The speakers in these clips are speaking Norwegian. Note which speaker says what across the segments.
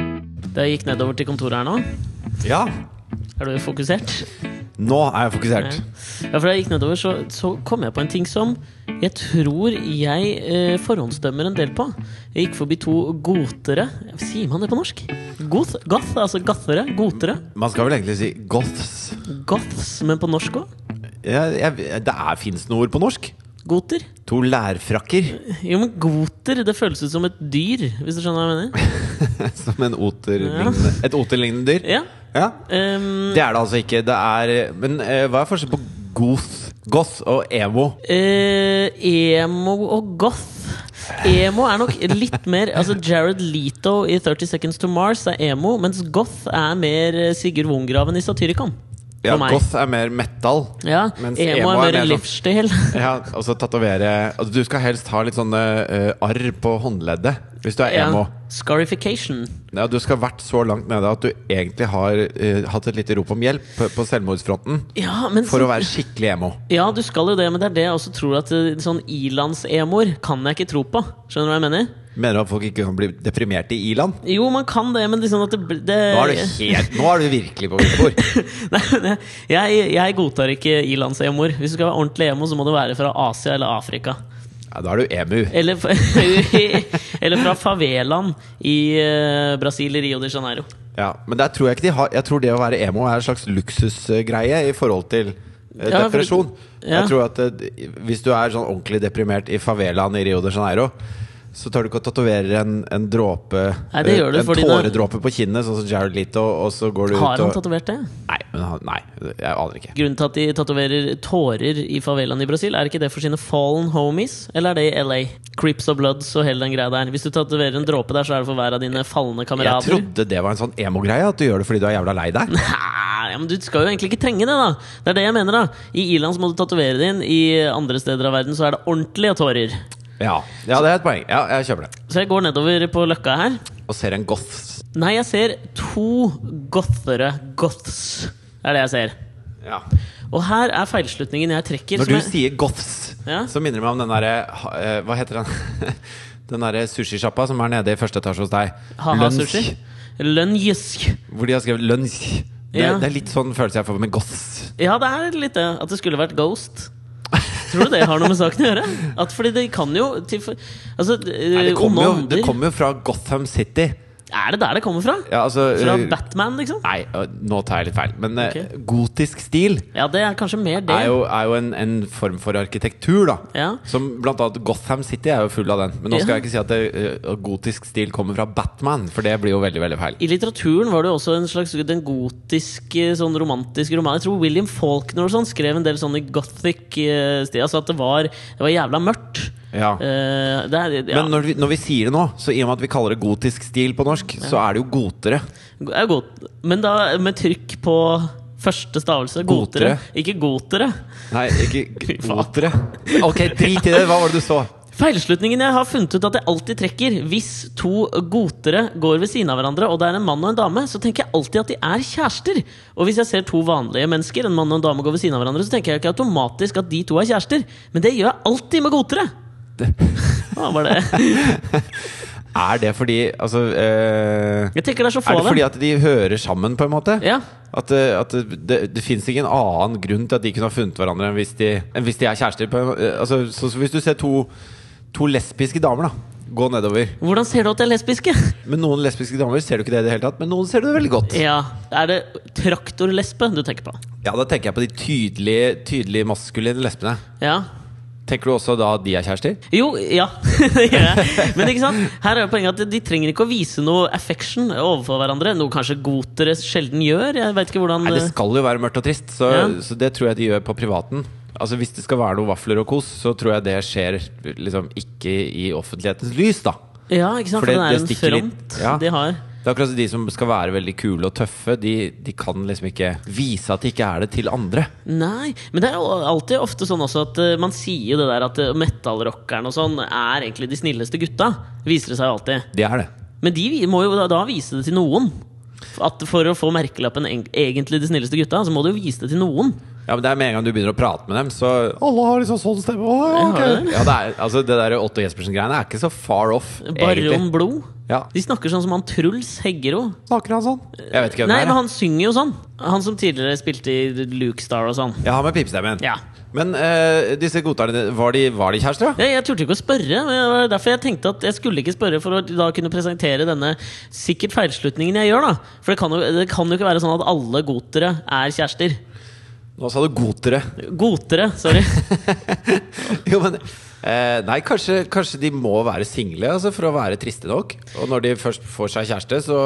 Speaker 1: Jeg gikk nedover til kontoret her nå.
Speaker 2: Ja,
Speaker 1: Er du fokusert?
Speaker 2: nå er jeg fokusert.
Speaker 1: Ja, for da jeg gikk nedover, så, så kom jeg på en ting som jeg tror jeg eh, forhåndsdømmer en del på. Jeg gikk forbi to gotere. Sier man det på norsk? Goth, goth altså gathere. Gotere.
Speaker 2: Man skal vel egentlig si goths.
Speaker 1: Goths, men på norsk òg.
Speaker 2: Jeg, jeg, det er fins noe ord på norsk.
Speaker 1: Goter.
Speaker 2: To lærfrakker.
Speaker 1: Jo, men goter, det føles ut som et dyr, hvis du skjønner hva jeg mener?
Speaker 2: Som en oterlignende Et oterlignende dyr.
Speaker 1: Ja.
Speaker 2: Ja.
Speaker 1: ehm,
Speaker 2: Det er det altså ikke. Det er Men eh, hva er forskjellen på goth, goth og emo?
Speaker 1: eh, emo og goth. Emo er nok litt mer Altså Jared Leto i 30 Seconds to Mars er emo, mens goth er mer eh, Sigurd Wongraven i Satyricon.
Speaker 2: Ja,
Speaker 1: For meg.
Speaker 2: goth er mer metal.
Speaker 1: Ja,
Speaker 2: Mens
Speaker 1: emo,
Speaker 2: emo
Speaker 1: er
Speaker 2: er
Speaker 1: mer
Speaker 2: mer sånn-
Speaker 1: livsstil.
Speaker 2: Ja, og så tatovere altså, Du skal helst ha litt sånne eh, arr på håndleddet hvis du er emo.
Speaker 1: Ja. Scarification.
Speaker 2: Ja, du skal ha vært så langt nede at du egentlig har eh, hatt et lite rop om hjelp på, på selvmordsfronten
Speaker 1: Ja, men
Speaker 2: for å være skikkelig emo.
Speaker 1: Ja, du skal jo det, men det er det jeg også tror at eh, sånn ilandsemoer kan jeg ikke tro på. Skjønner du hva jeg mener?
Speaker 2: Mener du at folk ikke kan bli deprimerte i i-land?
Speaker 1: Jo, man kan det, men liksom at det, bl- det
Speaker 2: Nå er du helt Nå er du virkelig på villspor.
Speaker 1: Nei, men jeg, jeg, jeg godtar ikke ilandsemoer. Hvis du skal være ordentlig emo, så må du være fra Asia eller Afrika.
Speaker 2: Ja, da er du emu.
Speaker 1: Eller, f- eller fra favelaen i eh, Brasil, i Rio de Janeiro.
Speaker 2: Ja, men der tror jeg ikke de har Jeg tror det å være emo er en slags luksusgreie i forhold til eh,
Speaker 1: Ja, for-
Speaker 2: depresjon.
Speaker 1: ja.
Speaker 2: Jeg tror at eh, hvis du er sånn ordentlig deprimert i favelaen i Rio de Janeiro, så tar du ikke og tatoverer en, en dråpe
Speaker 1: Nei, det
Speaker 2: eh,
Speaker 1: gjør du,
Speaker 2: En
Speaker 1: fordi det-
Speaker 2: tåredråpe på kinnet, sånn som Jared Leto, og så går du ut
Speaker 1: Har han
Speaker 2: og
Speaker 1: tatovert det?
Speaker 2: Nei, men han, nei, jeg aner ikke.
Speaker 1: Grunnen til at de tatoverer tårer i favelaen i Brasil, er ikke det for sine fallen homies? Eller er det i LA? Crips og Bloods og hele den greia der. Hvis du tatoverer en dråpe der, så er det for hver av dine falne
Speaker 2: Jeg
Speaker 1: kamerater.
Speaker 2: trodde det var en sånn emo-greie, at du gjør det fordi du er jævla lei deg.
Speaker 1: Nei, men Du skal jo egentlig ikke trenge det, da. Det er det jeg mener. da I Irland så må du tatovere det inn. I andre steder av verden så er det ordentlige tårer.
Speaker 2: Ja, ja det er et poeng. Ja, jeg kjøper det.
Speaker 1: Så jeg går nedover på løkka her.
Speaker 2: Og ser en goths.
Speaker 1: Nei, jeg ser to gothere. Goths. Det er det jeg ser.
Speaker 2: Ja.
Speaker 1: Og her er feilslutningen jeg trekker.
Speaker 2: Når du
Speaker 1: som jeg,
Speaker 2: sier goths,
Speaker 1: Ja.
Speaker 2: så minner det meg om den derre ha- eh, Hva heter den? Den derre sushisjappa som er nede i første etasje hos deg.
Speaker 1: haha, sushi. Lønnjysk.
Speaker 2: Hvor de har skrevet lunsj. Det,
Speaker 1: Ja.
Speaker 2: det er litt sånn følelse jeg får med goths.
Speaker 1: Ja, det er litt det. At det skulle vært Ghost. Tror du det har noe med saken å gjøre? At fordi det kan jo til for, Altså,
Speaker 2: Nei, det, kommer jo, det
Speaker 1: ånder
Speaker 2: kommer jo fra Gotham City.
Speaker 1: Er det der det kommer fra?
Speaker 2: Ja, altså
Speaker 1: Fra
Speaker 2: eh,
Speaker 1: Batman, liksom?
Speaker 2: Nei, eh, nå tar jeg litt feil. Men eh,
Speaker 1: Ok.
Speaker 2: gotisk stil
Speaker 1: Ja, det er kanskje mer det.
Speaker 2: er jo, er jo en, en form for arkitektur, da.
Speaker 1: Ja.
Speaker 2: Som blant annet Gotham City er jo full av den. Men nå
Speaker 1: Ja.
Speaker 2: skal jeg ikke si at det, eh, gotisk stil kommer fra Batman, for det blir jo veldig, veldig feil.
Speaker 1: I litteraturen var det jo også en slags den gotiske, sånn romantiske roman. Jeg tror William Faulkner og sånn skrev en del sånne gothic eh, stil. Altså at det var, det var jævla mørkt.
Speaker 2: Ja.
Speaker 1: Eh, det er, ja.
Speaker 2: Men når vi, når vi sier det nå, så i og med at vi kaller det gotisk stil på norsk, så er det jo gotere.
Speaker 1: Det er godt. Men da med trykk på første stavelse. Gotere.
Speaker 2: Gotere.
Speaker 1: Ikke gotere.
Speaker 2: Nei, ikke
Speaker 1: faen.
Speaker 2: gotere. Ok, drit i det. Hva var det du så?
Speaker 1: Feilslutningen jeg har funnet ut at jeg alltid trekker hvis to gotere går ved siden av hverandre, og det er en mann og en dame, så tenker jeg alltid at de er kjærester. Og hvis jeg ser to vanlige mennesker, en mann og en dame, går ved siden av hverandre, så tenker jeg ikke automatisk at de to er kjærester. Men det gjør jeg alltid med gotere! Hva var det?
Speaker 2: Er det fordi Altså eh,
Speaker 1: Jeg tenker det er så få
Speaker 2: Er det
Speaker 1: av
Speaker 2: fordi
Speaker 1: dem.
Speaker 2: at de hører sammen, på en måte?
Speaker 1: Ja.
Speaker 2: At, eh, at det, det, det fins ingen annen grunn til at de kunne ha funnet hverandre enn hvis de, enn hvis de er kjærester? På, en- eh, altså, så, så hvis du ser to, to lesbiske damer da gå nedover
Speaker 1: Hvordan ser du at de er lesbiske?
Speaker 2: Men noen lesbiske damer ser du ikke det i det hele tatt, men noen ser du det veldig godt.
Speaker 1: Ja, Er det traktorlesbe du tenker på?
Speaker 2: Ja, Da tenker jeg på de tydelige, tydelig maskuline lesbene.
Speaker 1: Ja,
Speaker 2: Tenker du også da at de er kjærester?
Speaker 1: Jo, ja. det gjør jeg. Men ikke sant? her er jo poenget at de trenger ikke å vise noe affection overfor hverandre. Noe kanskje gotere sjelden gjør. Jeg vet ikke hvordan
Speaker 2: Nei, det skal jo være mørkt og trist, så,
Speaker 1: Ja.
Speaker 2: så det tror jeg de gjør på privaten. Altså Hvis det skal være noe vafler og kos, så tror jeg det skjer liksom ikke i offentlighetens lys, da.
Speaker 1: eh, Ja, ikke sant?
Speaker 2: For
Speaker 1: For
Speaker 2: det-
Speaker 1: det er en
Speaker 2: det stikker litt.
Speaker 1: front
Speaker 2: Ja.
Speaker 1: de har.
Speaker 2: Det er akkurat som de som skal være veldig kule og tøffe, de, de kan liksom ikke vise at de ikke er det til andre.
Speaker 1: Nei, men det er jo alltid ofte sånn også at eh, man sier jo det der at eh, metallrockeren og sånn er egentlig de snilleste gutta. Viser det seg jo alltid.
Speaker 2: Det er det.
Speaker 1: Men de vi- må jo da, da vise det til noen. At For å få merkelappen eng- 'egentlig de snilleste gutta', så må du jo vise det til noen.
Speaker 2: Ja, men det er med en gang du begynner å prate med dem, så
Speaker 3: Alle har liksom sånn stemme. Å, ja,
Speaker 1: Ja,
Speaker 3: ok.
Speaker 2: ja, det, er, altså, det der Otto Jespersen-greiene er ikke så far off,
Speaker 1: Baron
Speaker 2: egentlig.
Speaker 1: Blod.
Speaker 2: Ja,
Speaker 1: De snakker sånn som han Truls Heggero.
Speaker 3: Snakker han sånn?
Speaker 2: jeg vet ikke hvem
Speaker 1: Nei, men
Speaker 2: det er.
Speaker 1: han synger jo sånn. Han som tidligere spilte i Luke Star og sånn.
Speaker 2: Jeg har med pipestemmen.
Speaker 1: Ja.
Speaker 2: Men eh, disse godtarene, var de, var de kjærester, da?
Speaker 1: Jeg, jeg turte ikke å spørre. men Det var derfor jeg tenkte at jeg skulle ikke spørre for å da kunne presentere denne sikkert feilslutningen jeg gjør. da For det kan jo, det kan jo ikke være sånn at alle gotere er kjærester.
Speaker 2: Nå sa du gotere.
Speaker 1: Gotere, sorry.
Speaker 2: Jo, men eh, Nei, kanskje, kanskje de må være single altså, for å være triste nok. Og når de først får seg kjæreste, så,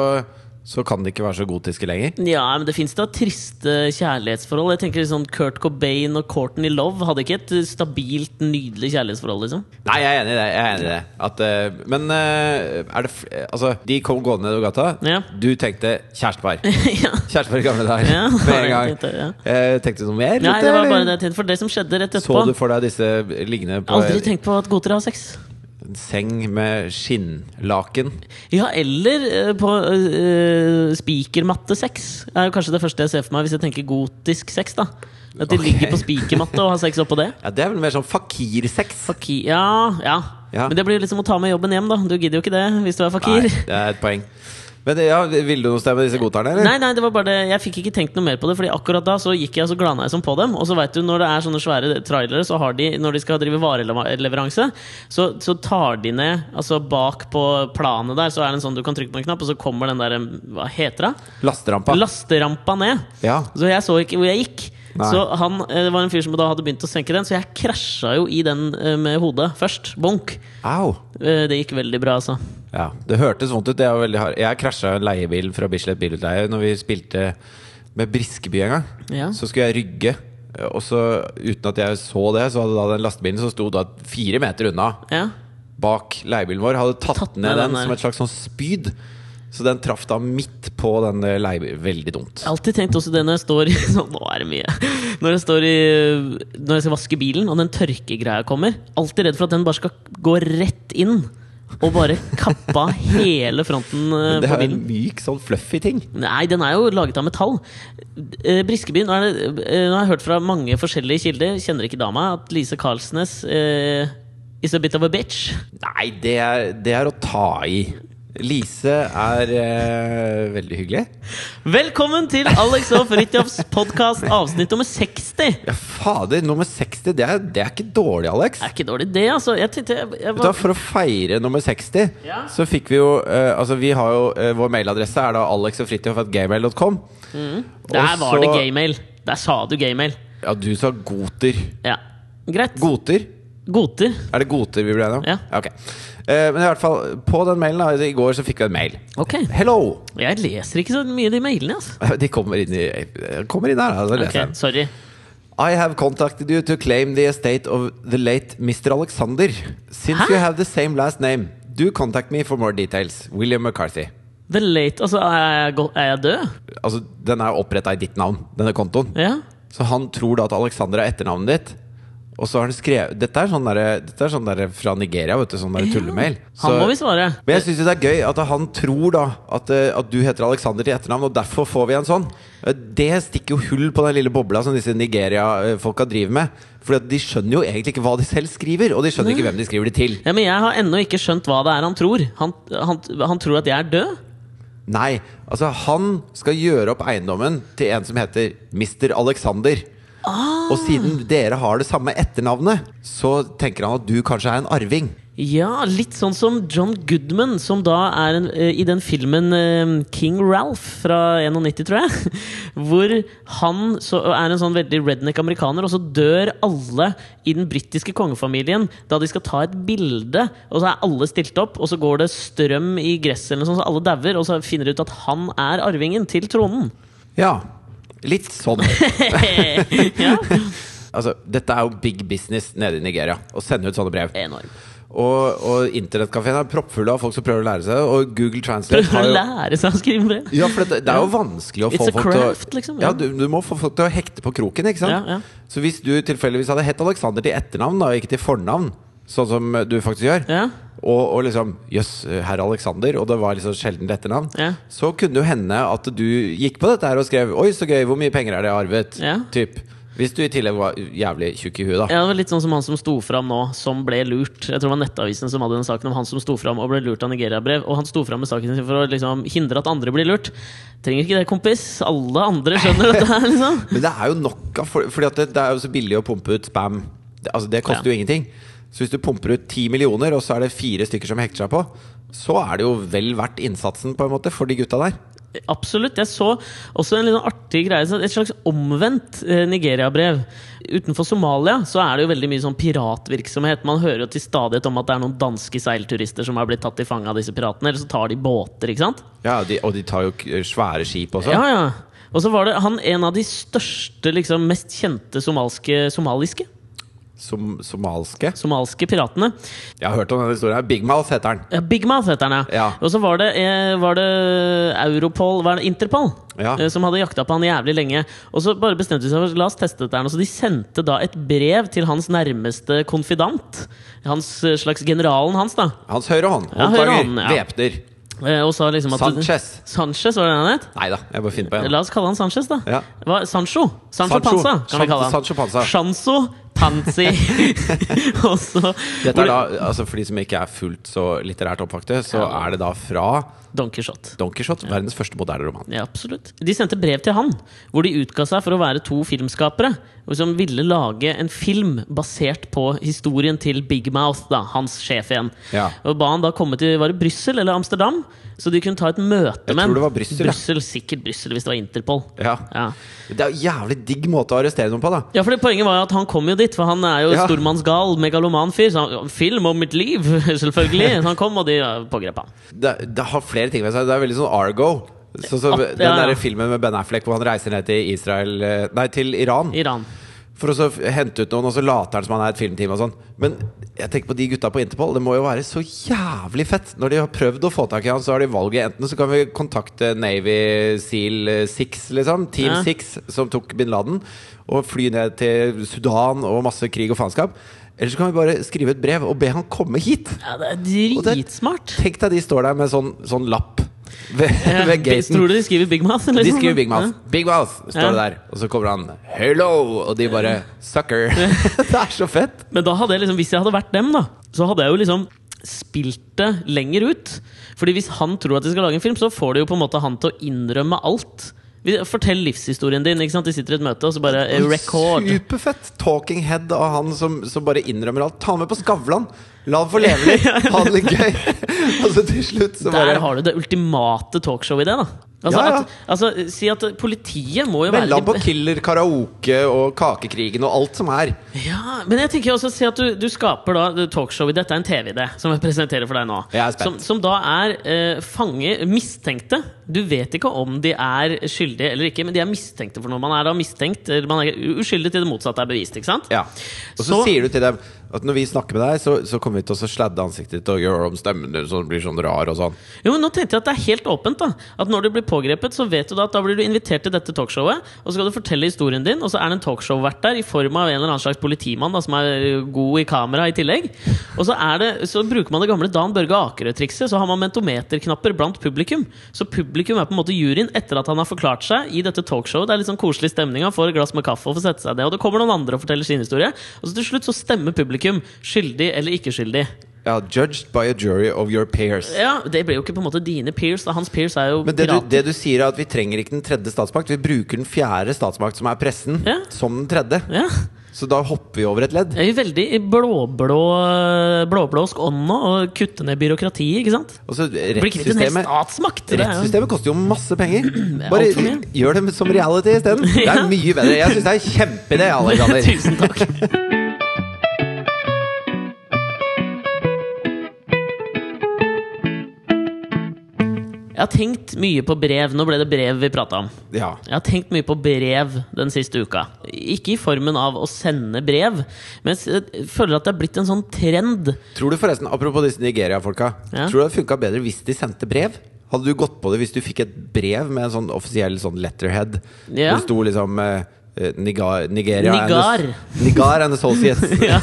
Speaker 2: så kan de ikke være så gotiske lenger.
Speaker 1: Ja, men det fins da triste kjærlighetsforhold. Jeg tenker sånn Kurt Cobain og Courtney Love hadde ikke et stabilt, nydelig kjærlighetsforhold. liksom
Speaker 2: Nei, jeg er enig i det. Jeg er enig i det. At, eh, men eh, er det fl eh, Altså, de kom gående nedover gata.
Speaker 1: Ja.
Speaker 2: Du tenkte kjærestepar.
Speaker 1: ja.
Speaker 2: Kjærestepar i gamle dager.
Speaker 1: Ja,
Speaker 2: Med en gang.
Speaker 1: tenkte jeg,
Speaker 2: Eh, tenkte du noe mer?
Speaker 1: Nei,
Speaker 2: rundt
Speaker 1: det var
Speaker 2: eller?
Speaker 1: bare det jeg tenkte. For det som skjedde rett
Speaker 2: Så du
Speaker 1: etterpå
Speaker 2: for deg disse liggende på
Speaker 1: Aldri
Speaker 2: en,
Speaker 1: tenkt på at gotere har sex.
Speaker 2: en seng med skinnlaken?
Speaker 1: Ja, eller eh, på uh, spikermatte-sex. Er jo kanskje det første jeg ser for meg hvis jeg tenker gotisk sex. da At de
Speaker 2: Ok.
Speaker 1: ligger på spikermatte og har sex oppå det.
Speaker 2: Ja, Det er vel mer sånn fakirsex.
Speaker 1: Fakir, ja, ja,
Speaker 2: Ja.
Speaker 1: Men det blir jo liksom å ta med jobben hjem, da. Du gidder jo ikke det hvis du er fakir.
Speaker 2: Nei, det er et poeng. Men ja, Ville du noe sted med disse godtarene, eller?
Speaker 1: Nei, nei, det var bare det Jeg fikk ikke tenkt noe mer på det, Fordi akkurat da så gikk jeg og så glana jeg som på dem. Og så vet du, når det er sånne svære trailere, så har de når de skal drive vareleveranse, så, så tar de ned Altså bak på planet der, så er det en sånn du kan trykke på en knapp, og så kommer den der eh, Hva heter det?
Speaker 2: Lasterampa.
Speaker 1: Lasterampa ned.
Speaker 2: ja.
Speaker 1: Så jeg så ikke hvor jeg gikk.
Speaker 2: Nei.
Speaker 1: Så han, eh, Det var en fyr som da hadde begynt å senke den, så jeg krasja jo i den eh, med hodet først. Bonk.
Speaker 2: Au.
Speaker 1: Eh, Det gikk veldig bra, altså.
Speaker 2: Ja, Det hørtes vondt ut. Det er jo veldig hard. Jeg krasja en leiebil fra Bislett Bilutleie når vi spilte med Briskeby en gang.
Speaker 1: Ja.
Speaker 2: Så skulle jeg rygge, og så uten at jeg så det, så hadde da den lastebilen som sto da fire meter unna
Speaker 1: Ja.
Speaker 2: bak leiebilen vår, hadde tatt,
Speaker 1: Tatt
Speaker 2: ned
Speaker 1: ned den
Speaker 2: den,
Speaker 1: der.
Speaker 2: som et slags sånn spyd. Så den traff da midt på den leiebilen. Veldig dumt.
Speaker 1: Jeg har alltid tenkt også det når jeg står i sånn, Nå er det mye. Når jeg står i Når jeg skal vaske bilen, og den tørkegreia kommer, alltid redd for at den bare skal gå rett inn. Og bare kappe av hele fronten eh,
Speaker 2: Det
Speaker 1: på
Speaker 2: er
Speaker 1: bilen.
Speaker 2: en myk, sånn fluffy ting.
Speaker 1: Nei, den er jo laget av metall. Eh, Briskeby Nå, er det, eh, nå har jeg hørt fra mange forskjellige kilder, kjenner ikke dama, at Lise Karlsnes eh, is a bit of a bitch.
Speaker 2: Nei, det er, det er å ta i. Lise er eh, veldig hyggelig.
Speaker 1: Velkommen til Alex og Fridtjofs podkast, avsnitt nummer 60!
Speaker 2: Ja, fader, nummer 60, det er, det er ikke dårlig, Alex.
Speaker 1: Er ikke dårlig, det, altså. Jeg tenkte jeg, jeg
Speaker 2: Vet du hva,
Speaker 1: var,
Speaker 2: for å feire nummer 60,
Speaker 1: Ja.
Speaker 2: så fikk vi jo eh, Altså, vi har jo eh, Vår mailadresse er da alexogfritjof.gmail.com. Mm.
Speaker 1: Der var det gaymail. Der sa du gaymail.
Speaker 2: Ja, du sa goter.
Speaker 1: Ja. Greit.
Speaker 2: Goter?
Speaker 1: Goter.
Speaker 2: Er det goter vi ble enige om?
Speaker 1: Ja.
Speaker 2: Ok. Eh, men i hvert fall, på den mailen da, i går så fikk vi en mail.
Speaker 1: Ok.
Speaker 2: Hello!
Speaker 1: Jeg leser ikke så mye de mailene, altså.
Speaker 2: De kommer inn, i, kommer inn her, da. Så leser
Speaker 1: Ok,
Speaker 2: jeg den.
Speaker 1: Sorry.
Speaker 2: I have contacted you to claim the estate of the late Mr. Alexander. Since
Speaker 1: Hæ?
Speaker 2: you have the same last name, do contact me for more details. William McCarthy.
Speaker 1: The late Altså, er jeg, go- er jeg død?
Speaker 2: Altså, den er oppretta i ditt navn, denne kontoen.
Speaker 1: Ja?
Speaker 2: Så han tror da at Alexander er etternavnet ditt. Og så har han skrevet Dette er sånn derre dette er sånn derre fra Nigeria, vet du. Sånn derre tullemail.
Speaker 1: Han
Speaker 2: Så-
Speaker 1: må vi svare.
Speaker 2: men jeg syns det er gøy at han tror da at, eh, at du heter Alexander til etternavn, og derfor får vi en sånn. Eh, Det stikker jo hull på den lille bobla som disse Nigeria-folka driver med. For de skjønner jo egentlig ikke hva de selv skriver, og de skjønner ikke hvem de skriver det til.
Speaker 1: Ja, men jeg har ennå ikke skjønt hva det er han tror. Han, han, han tror at jeg er død?
Speaker 2: Nei, altså han skal gjøre opp eiendommen til en som heter Mr. Alexander. Og siden dere har det samme etternavnet, så tenker han at du kanskje er en arving.
Speaker 1: Ja, litt sånn som John Goodman, som da er en, eh, i den filmen eh, King Ralph fra 91, tror jeg. Hvor han så, er en sånn veldig redneck amerikaner, og så dør alle i den britiske kongefamilien da de skal ta et bilde, og så er alle stilt opp, og så går det strøm i gresset, eller noe sånt, så alle dauer, og så finner de ut at han er arvingen til tronen.
Speaker 2: Ja, litt sånn.
Speaker 1: ja,
Speaker 2: Altså, dette er jo big business nede i Nigeria, å sende ut sånne brev.
Speaker 1: enorm.
Speaker 2: Og, og internettkafeen er proppfull av folk som prøver å lære seg det, og Google Translate
Speaker 1: Prøver
Speaker 2: har
Speaker 1: å
Speaker 2: jo
Speaker 1: lære seg å skrive brev.
Speaker 2: ja, for det, det er jo vanskelig å få
Speaker 1: It's a
Speaker 2: folk til å
Speaker 1: craft, liksom,
Speaker 2: Ja,
Speaker 1: ja.
Speaker 2: du, du må få folk til å hekte på kroken, ikke sant?
Speaker 1: Ja, ja.
Speaker 2: Så hvis du tilfeldigvis hadde hett Alexander til etternavn, da, og ikke til fornavn, sånn som du faktisk gjør,
Speaker 1: Ja.
Speaker 2: og, og liksom 'jøss, herr Alexander', og det var liksom sjelden etternavn,
Speaker 1: Ja.
Speaker 2: så kunne det jo hende at du gikk på dette her og skrev 'oi, så gøy, hvor mye penger er det jeg har arvet?'
Speaker 1: Ja.
Speaker 2: Typ. Hvis du i tillegg var jævlig tjukk i huet, da.
Speaker 1: Ja, det var Litt sånn som han som sto fram nå, som ble lurt. Jeg tror det var Nettavisen som hadde den saken om han som sto fram og ble lurt av Nigeria-brev. Og han sto fram med saken sin for å liksom hindre at andre blir lurt. Trenger ikke det, kompis. Alle andre skjønner dette her, liksom.
Speaker 2: Men det er jo nok av for, Fordi at det, det er jo så billig å pumpe ut spam. Det, altså det koster
Speaker 1: Ja.
Speaker 2: jo ingenting. Så hvis du pumper ut ti millioner, og så er det fire stykker som hekter seg på, så er det jo vel verdt innsatsen på en måte for de gutta der.
Speaker 1: Absolutt. Jeg så også en litt sånn artig greie. sånn Et slags omvendt eh, Nigeria-brev. Utenfor Somalia så er det jo veldig mye sånn piratvirksomhet. Man hører jo til stadighet om at det er noen danske seilturister som har blitt tatt til fange av disse piratene. Eller så tar de båter, ikke sant?
Speaker 2: Ja, de, Og de tar jo k- svære skip også.
Speaker 1: Ja, ja. Og så var det han en av de største, liksom mest kjente somalske, somaliske
Speaker 2: Som somalske.
Speaker 1: somalske piratene.
Speaker 2: Jeg har hørt om denne historien. her. Big Mouth heter den.
Speaker 1: Ja, Big Mouth heter han, ja.
Speaker 2: Ja.
Speaker 1: Og så var det, eh, var det Europol var det Interpol
Speaker 2: Ja.
Speaker 1: eh, som hadde jakta på han jævlig lenge. Og så bare bestemte de seg for la oss teste dette. her nå. Så de sendte da et brev til hans nærmeste konfidant. Hans eh, slags generalen hans, da.
Speaker 2: Hans høyre hånd.
Speaker 1: Ja, høyre hånd, ja.
Speaker 2: Væpner.
Speaker 1: Eh, Og sa liksom at
Speaker 2: Sanchez.
Speaker 1: Sanchez, var det han het?
Speaker 2: Nei da, jeg bare finner på en.
Speaker 1: La oss kalle han Sanchez, da.
Speaker 2: Ja.
Speaker 1: Hva, Sancho. Sancho
Speaker 2: Sancho.
Speaker 1: Panza, kan vi kalle han.
Speaker 2: Sancho Panza.
Speaker 1: Sancho Panzi. Og så
Speaker 2: Dette er da, altså For de som ikke er fullt så litterært oppvakte, så
Speaker 1: Ja.
Speaker 2: er det da fra
Speaker 1: Donkey Shot.
Speaker 2: Donkey Shot, verdens første moderne roman.
Speaker 1: Ja, absolutt. De sendte brev til han, hvor de utga seg for å være to filmskapere. og Som ville lage en film basert på historien til Big Mouth, da, hans sjef igjen.
Speaker 2: Ja.
Speaker 1: Og ba han da komme til var det Brussel eller Amsterdam, så de kunne ta et møte
Speaker 2: Jeg
Speaker 1: med
Speaker 2: tror
Speaker 1: han.
Speaker 2: det var Brussel, ja.
Speaker 1: Sikkert Brussel, hvis det var Interpol.
Speaker 2: Ja.
Speaker 1: Ja.
Speaker 2: Det er jo jævlig digg måte å arrestere noen på, da.
Speaker 1: Ja, fordi Poenget var jo at han kom jo dit, for han er jo
Speaker 2: Ja.
Speaker 1: stormannsgal, megaloman fyr. Så han, film om mitt liv, selvfølgelig. Så han kom, og de ja, pågrep han.
Speaker 2: Det, det har flere ting ved seg. Det er veldig sånn Argo. Sånn som
Speaker 1: At-
Speaker 2: den
Speaker 1: ja, ja.
Speaker 2: der filmen med Ben Affleck hvor han reiser ned til Israel eh, Nei, til Iran
Speaker 1: Iran.
Speaker 2: for å så f- hente ut noen, og så later han som han er et filmteam og sånn. Men jeg tenker på de gutta på Interpol. Det må jo være så jævlig fett. Når de har prøvd å få tak i han, så har de valget. Enten så kan vi kontakte Navy Seal Six, liksom. Team
Speaker 1: Ja.
Speaker 2: Six, som tok bin Laden. Og fly ned til Sudan og masse krig og faenskap. Eller så kan vi bare skrive et brev og be han komme hit.
Speaker 1: Ja, det er
Speaker 2: Og det-
Speaker 1: dritsmart.
Speaker 2: Tenk deg de står der med sånn, sånn lapp ved, ved gaten.
Speaker 1: Tror du de skriver Big Mouth?
Speaker 2: De
Speaker 1: liksom?
Speaker 2: skriver Big
Speaker 1: Ja.
Speaker 2: Mouth. Big Mouth står
Speaker 1: Ja.
Speaker 2: det der. Og så kommer han 'hello', og de bare 'sucker'. det er så fett!
Speaker 1: Men da hadde jeg liksom, hvis jeg hadde vært dem, da, så hadde jeg jo liksom spilt det lenger ut. Fordi hvis han tror at de skal lage en film, så får de jo på en måte han til å innrømme alt. Vi- Fortell livshistorien din. ikke sant? De sitter i et møte, og så bare eh, Record!
Speaker 2: Superfett! Talking head av han som, som bare innrømmer alt. Ta han med på Skavlan! La han få leve litt! Ha det litt gøy! og så til slutt så
Speaker 1: Der
Speaker 2: bare
Speaker 1: har du det ultimate talkshow i det, da. Altså,
Speaker 2: Ja, ja.
Speaker 1: At, altså, si at politiet må jo være
Speaker 2: Melde han
Speaker 1: de-
Speaker 2: på Killer, karaoke og Kakekrigen og alt som er.
Speaker 1: Ja, men jeg tenker jo også si at du, du skaper da talkshow i Dette er en TV-idé, som jeg presenterer for deg nå.
Speaker 2: Jeg er spent.
Speaker 1: som, som da er eh, fange, mistenkte. Du vet ikke om de er skyldige eller ikke, men de er mistenkte for noe. Man er da mistenkt, eller man er uskyldig til det motsatte er bevist, ikke sant?
Speaker 2: Ja. Og så,
Speaker 1: Så-
Speaker 2: sier du til dem at når vi snakker med deg, så, så kommer vi til å sladde ansiktet ditt og gjøre om stemmen din så den blir sånn rar og sånn.
Speaker 1: Jo, men nå tenkte jeg at det er helt åpent, da. At når du blir pågrepet, så vet du da at da blir du invitert til dette talkshowet, og så skal du fortelle historien din, og så er det en talkshow-vert der i form av en eller annen slags politimann da, som er ø, god i kamera i tillegg. Og så, er det, så bruker man det gamle Dan Børge Akerø-trikset, så har man mentometerknapper blant publikum. Så publikum er på en måte juryen etter at han har forklart seg i dette talkshowet. Det er litt sånn koselig stemning, han får et glass med kaffe og får sette seg ned, og det kommer noen andre og forteller sin historie, og så til slutt så stemmer publikum skyldig eller ikke skyldig.
Speaker 2: Ja, judged by a jury of your peers.
Speaker 1: Ja, Det blir jo ikke på en måte dine peers. Da. Hans peers er jo
Speaker 2: Men det du,
Speaker 1: pirater.
Speaker 2: det du sier er at vi trenger ikke den tredje statsmakt, vi bruker den fjerde statsmakt, som er pressen,
Speaker 1: Ja.
Speaker 2: som den tredje.
Speaker 1: Ja.
Speaker 2: Så da hopper vi over et ledd.
Speaker 1: Jeg er jo veldig i blåblå blåblåsk ånd nå, og kutte ned byråkratiet, ikke sant?
Speaker 2: Og så
Speaker 1: Det blir ikke en hel
Speaker 2: rettssystemet
Speaker 1: statsmakt! det er jo-
Speaker 2: Rettssystemet koster jo masse penger. Bare
Speaker 1: altfor mye.
Speaker 2: gjør det som reality isteden. Det er mye bedre. Jeg syns det er en kjempeidé, Alexander.
Speaker 1: Tusen takk. Jeg har tenkt mye på brev. Nå ble det brev vi prata om.
Speaker 2: Ja.
Speaker 1: Jeg har tenkt mye på brev den siste uka. Ikke i formen av å sende brev, men jeg føler at det er blitt en sånn trend.
Speaker 2: Tror du forresten, apropos disse Nigeria-folka,
Speaker 1: Ja.
Speaker 2: tror du det hadde funka bedre hvis de sendte brev? Hadde du gått på det hvis du fikk et brev med en sånn offisiell sånn letterhead?
Speaker 1: Ja.
Speaker 2: Hvor det sto liksom eh, eh, Nigar, Nigeria and
Speaker 1: Nigar.
Speaker 2: the- Nigar and Associates.
Speaker 1: ja.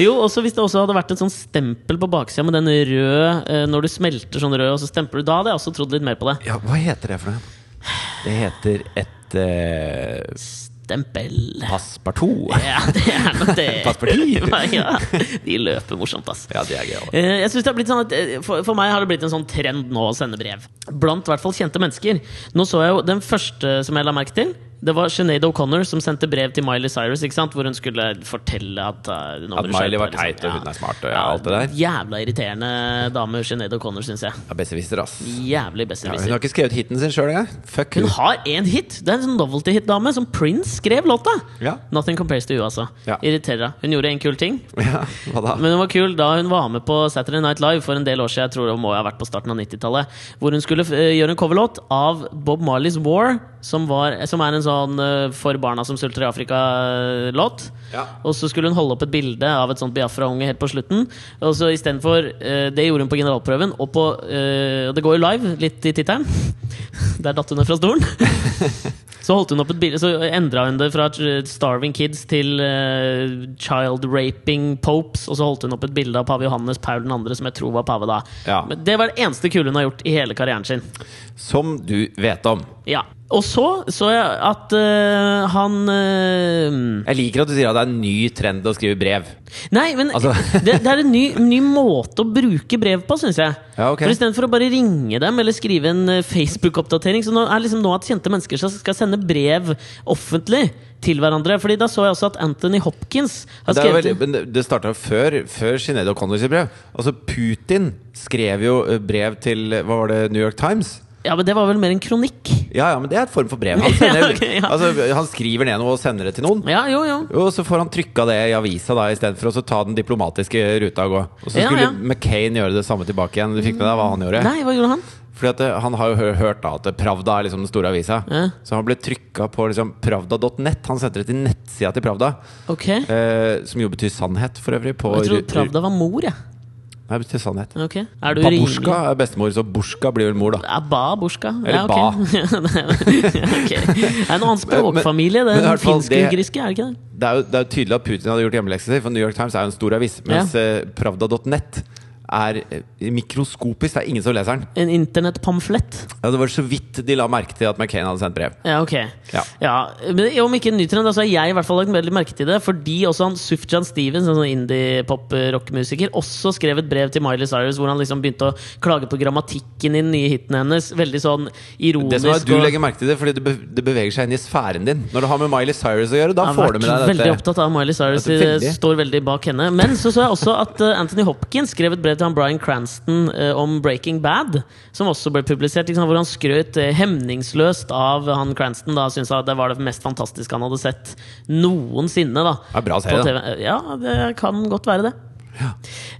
Speaker 1: Jo, også hvis det også hadde vært et sånn stempel på baksida med den røde eh, Når du smelter sånn rød, og så stemper du. Da hadde jeg også trodd litt mer på det.
Speaker 2: Ja, hva heter det for noe? Det heter et eh,
Speaker 1: Stempel.
Speaker 2: Passepartout.
Speaker 1: Ja, det er nok det.
Speaker 2: Pass parti.
Speaker 1: ja, de løper morsomt, ass.
Speaker 2: Ja, det er gøy. altså. også.
Speaker 1: Eh, Jeg synes det har blitt sånn at eh, for, for meg har det blitt en sånn trend nå å sende brev. Blant i hvert fall kjente mennesker. Nå så jeg jo den første som jeg la merke til. Det var Sinead O'Connor som sendte brev til Miley Cyrus. ikke sant? Hvor hun skulle fortelle at eh, nå må
Speaker 2: At
Speaker 1: du
Speaker 2: Miley
Speaker 1: skjerpe
Speaker 2: var
Speaker 1: deg, liksom.
Speaker 2: teit, og hun er smart, og ja,
Speaker 1: Ja,
Speaker 2: alt det der.
Speaker 1: Jævla irriterende dame Sinead O'Connor, syns jeg.
Speaker 2: Ja, Besserwisser, ass.
Speaker 1: Jævlig
Speaker 2: Ja, hun
Speaker 1: besserwisser.
Speaker 2: har ikke skrevet hiten sin sjøl engang. Fuck
Speaker 1: hun
Speaker 2: hun.
Speaker 1: har én hit! Det er en sånn novelty-hit-dame som Prince skrev låta!
Speaker 2: Ja.
Speaker 1: Nothing compares to you, altså.
Speaker 2: Ja.
Speaker 1: Irriterer deg. Hun gjorde en kul ting.
Speaker 2: ja, hva da?
Speaker 1: Men hun var kul da hun var med på Saturday Night Live for en del år siden. Jeg tror det må ha vært på starten av 90-tallet. Hvor hun skulle eh, gjøre en coverlåt av Bob Marleys War, som, var, som er en sånn eh, for barna som sulter i Afrika-låt.
Speaker 2: Ja.
Speaker 1: Og så skulle hun holde opp et bilde av et sånt Biafra-unge helt på slutten. Og så istedenfor uh, Det gjorde hun på generalprøven, og på eh, og Det går jo live, litt i tittelen. Der datt hun ned fra stolen. Så holdt hun opp et bilde Så endra hun det fra eh, Starving Kids til eh, Child Raping Popes, og så holdt hun opp et bilde av pave Johannes Paul 2., som jeg tror var pave da.
Speaker 2: Ja.
Speaker 1: Men det var det eneste kule hun har gjort i hele karrieren sin.
Speaker 2: Som du vet om.
Speaker 1: Ja. Og så så jeg at eh, han eh,
Speaker 2: Jeg liker at du sier at det er en ny trend å skrive brev.
Speaker 1: Nei, men
Speaker 2: Altså-
Speaker 1: det, det er en ny, ny måte å bruke brev på, syns jeg.
Speaker 2: Ja, ok.
Speaker 1: For Istedenfor å bare ringe dem eller skrive en eh, Facebook-oppdatering. Så nå er liksom nå at kjente mennesker skal- skal sende brev offentlig til hverandre. Fordi da så jeg også at Anthony Hopkins har
Speaker 2: Det, er jo
Speaker 1: skrevet
Speaker 2: veldig, men det- det starta før, før Sinead O'Connor sitt brev. Altså, Putin skrev jo eh, brev til eh, hva var det, New York Times.
Speaker 1: Ja, men det var vel mer en kronikk.
Speaker 2: Ja, ja, men det er et form for brev. Han, sender,
Speaker 1: Ja, ok, ja.
Speaker 2: altså, han skriver ned noe og sender det til noen.
Speaker 1: Ja, jo, jo.
Speaker 2: Og så får han trykka det i avisa da istedenfor å så ta den diplomatiske ruta og gå. Og så
Speaker 1: Ja,
Speaker 2: skulle
Speaker 1: ja.
Speaker 2: McCain gjøre det samme tilbake igjen. Du fikk med deg hva han gjorde?
Speaker 1: Nei, hva gjorde han?
Speaker 2: Fordi at eh, han har jo hø- hørt da at Pravda er liksom den store avisa.
Speaker 1: Ja.
Speaker 2: Så han ble trykka på liksom pravda.net. Han sendte det til nettsida til Pravda.
Speaker 1: Ok.
Speaker 2: Eh, som jo betyr sannhet, for øvrig. På
Speaker 1: Jeg
Speaker 2: ru-
Speaker 1: trodde Pravda var mor, jeg.
Speaker 2: ru- Nei, det betyr sannhet.
Speaker 1: Ja. Ok. Er du
Speaker 2: Babushka
Speaker 1: rimelig?
Speaker 2: er bestemor, så Bushka blir vel mor, da.
Speaker 1: Ja, ba, borska. ja,
Speaker 2: Eller
Speaker 1: ok. ok. Det er en annen språkfamilie.
Speaker 2: Men-
Speaker 1: Det
Speaker 2: men i
Speaker 1: er den
Speaker 2: hvert fall det-
Speaker 1: finsk-ugriske, er det ikke det?
Speaker 2: Det er, jo, det er jo tydelig at Putin hadde gjort hjemmeleksa si, for New York Times er jo en stor avis. Mens eh, pravda.net er eh, mikroskopisk. Det er ingen som leser den.
Speaker 1: En internettpamflett.
Speaker 2: Ja, det var så vidt de la merke til at McCain hadde sendt brev.
Speaker 1: Ja, ok.
Speaker 2: Ja.
Speaker 1: Ja. men Om ikke en ny trend, da, så har jeg i hvert fall lagt veldig merke til det. Fordi også han Sufjan Stevens, en sånn indie-pop-rockmusiker, også skrev et brev til Miley Cyrus hvor han liksom begynte å klage på grammatikken i den nye hiten hennes. Veldig sånn ironisk.
Speaker 2: Det som er at Du
Speaker 1: og-
Speaker 2: legger merke til det fordi det be- det beveger seg inn i sfæren din. Når det har med Miley Cyrus å gjøre, da
Speaker 1: Jeg har
Speaker 2: får du
Speaker 1: vært
Speaker 2: med deg
Speaker 1: veldig
Speaker 2: dette.
Speaker 1: opptatt av Miley Cyrus.
Speaker 2: Dette er veldig.
Speaker 1: eh, Står veldig bak henne. Men så så jeg også at eh, Anthony Hopkins skrev et brev til han Bryan Cranston eh, om Breaking Bad, som også ble publisert, ikke sant, hvor han skrøt eh, hemningsløst av han Cranston. Da syntes at det var det mest fantastiske han hadde sett noensinne. da
Speaker 2: Ja, bra
Speaker 1: på
Speaker 2: serie, da.
Speaker 1: TV. Ja, det kan godt være det.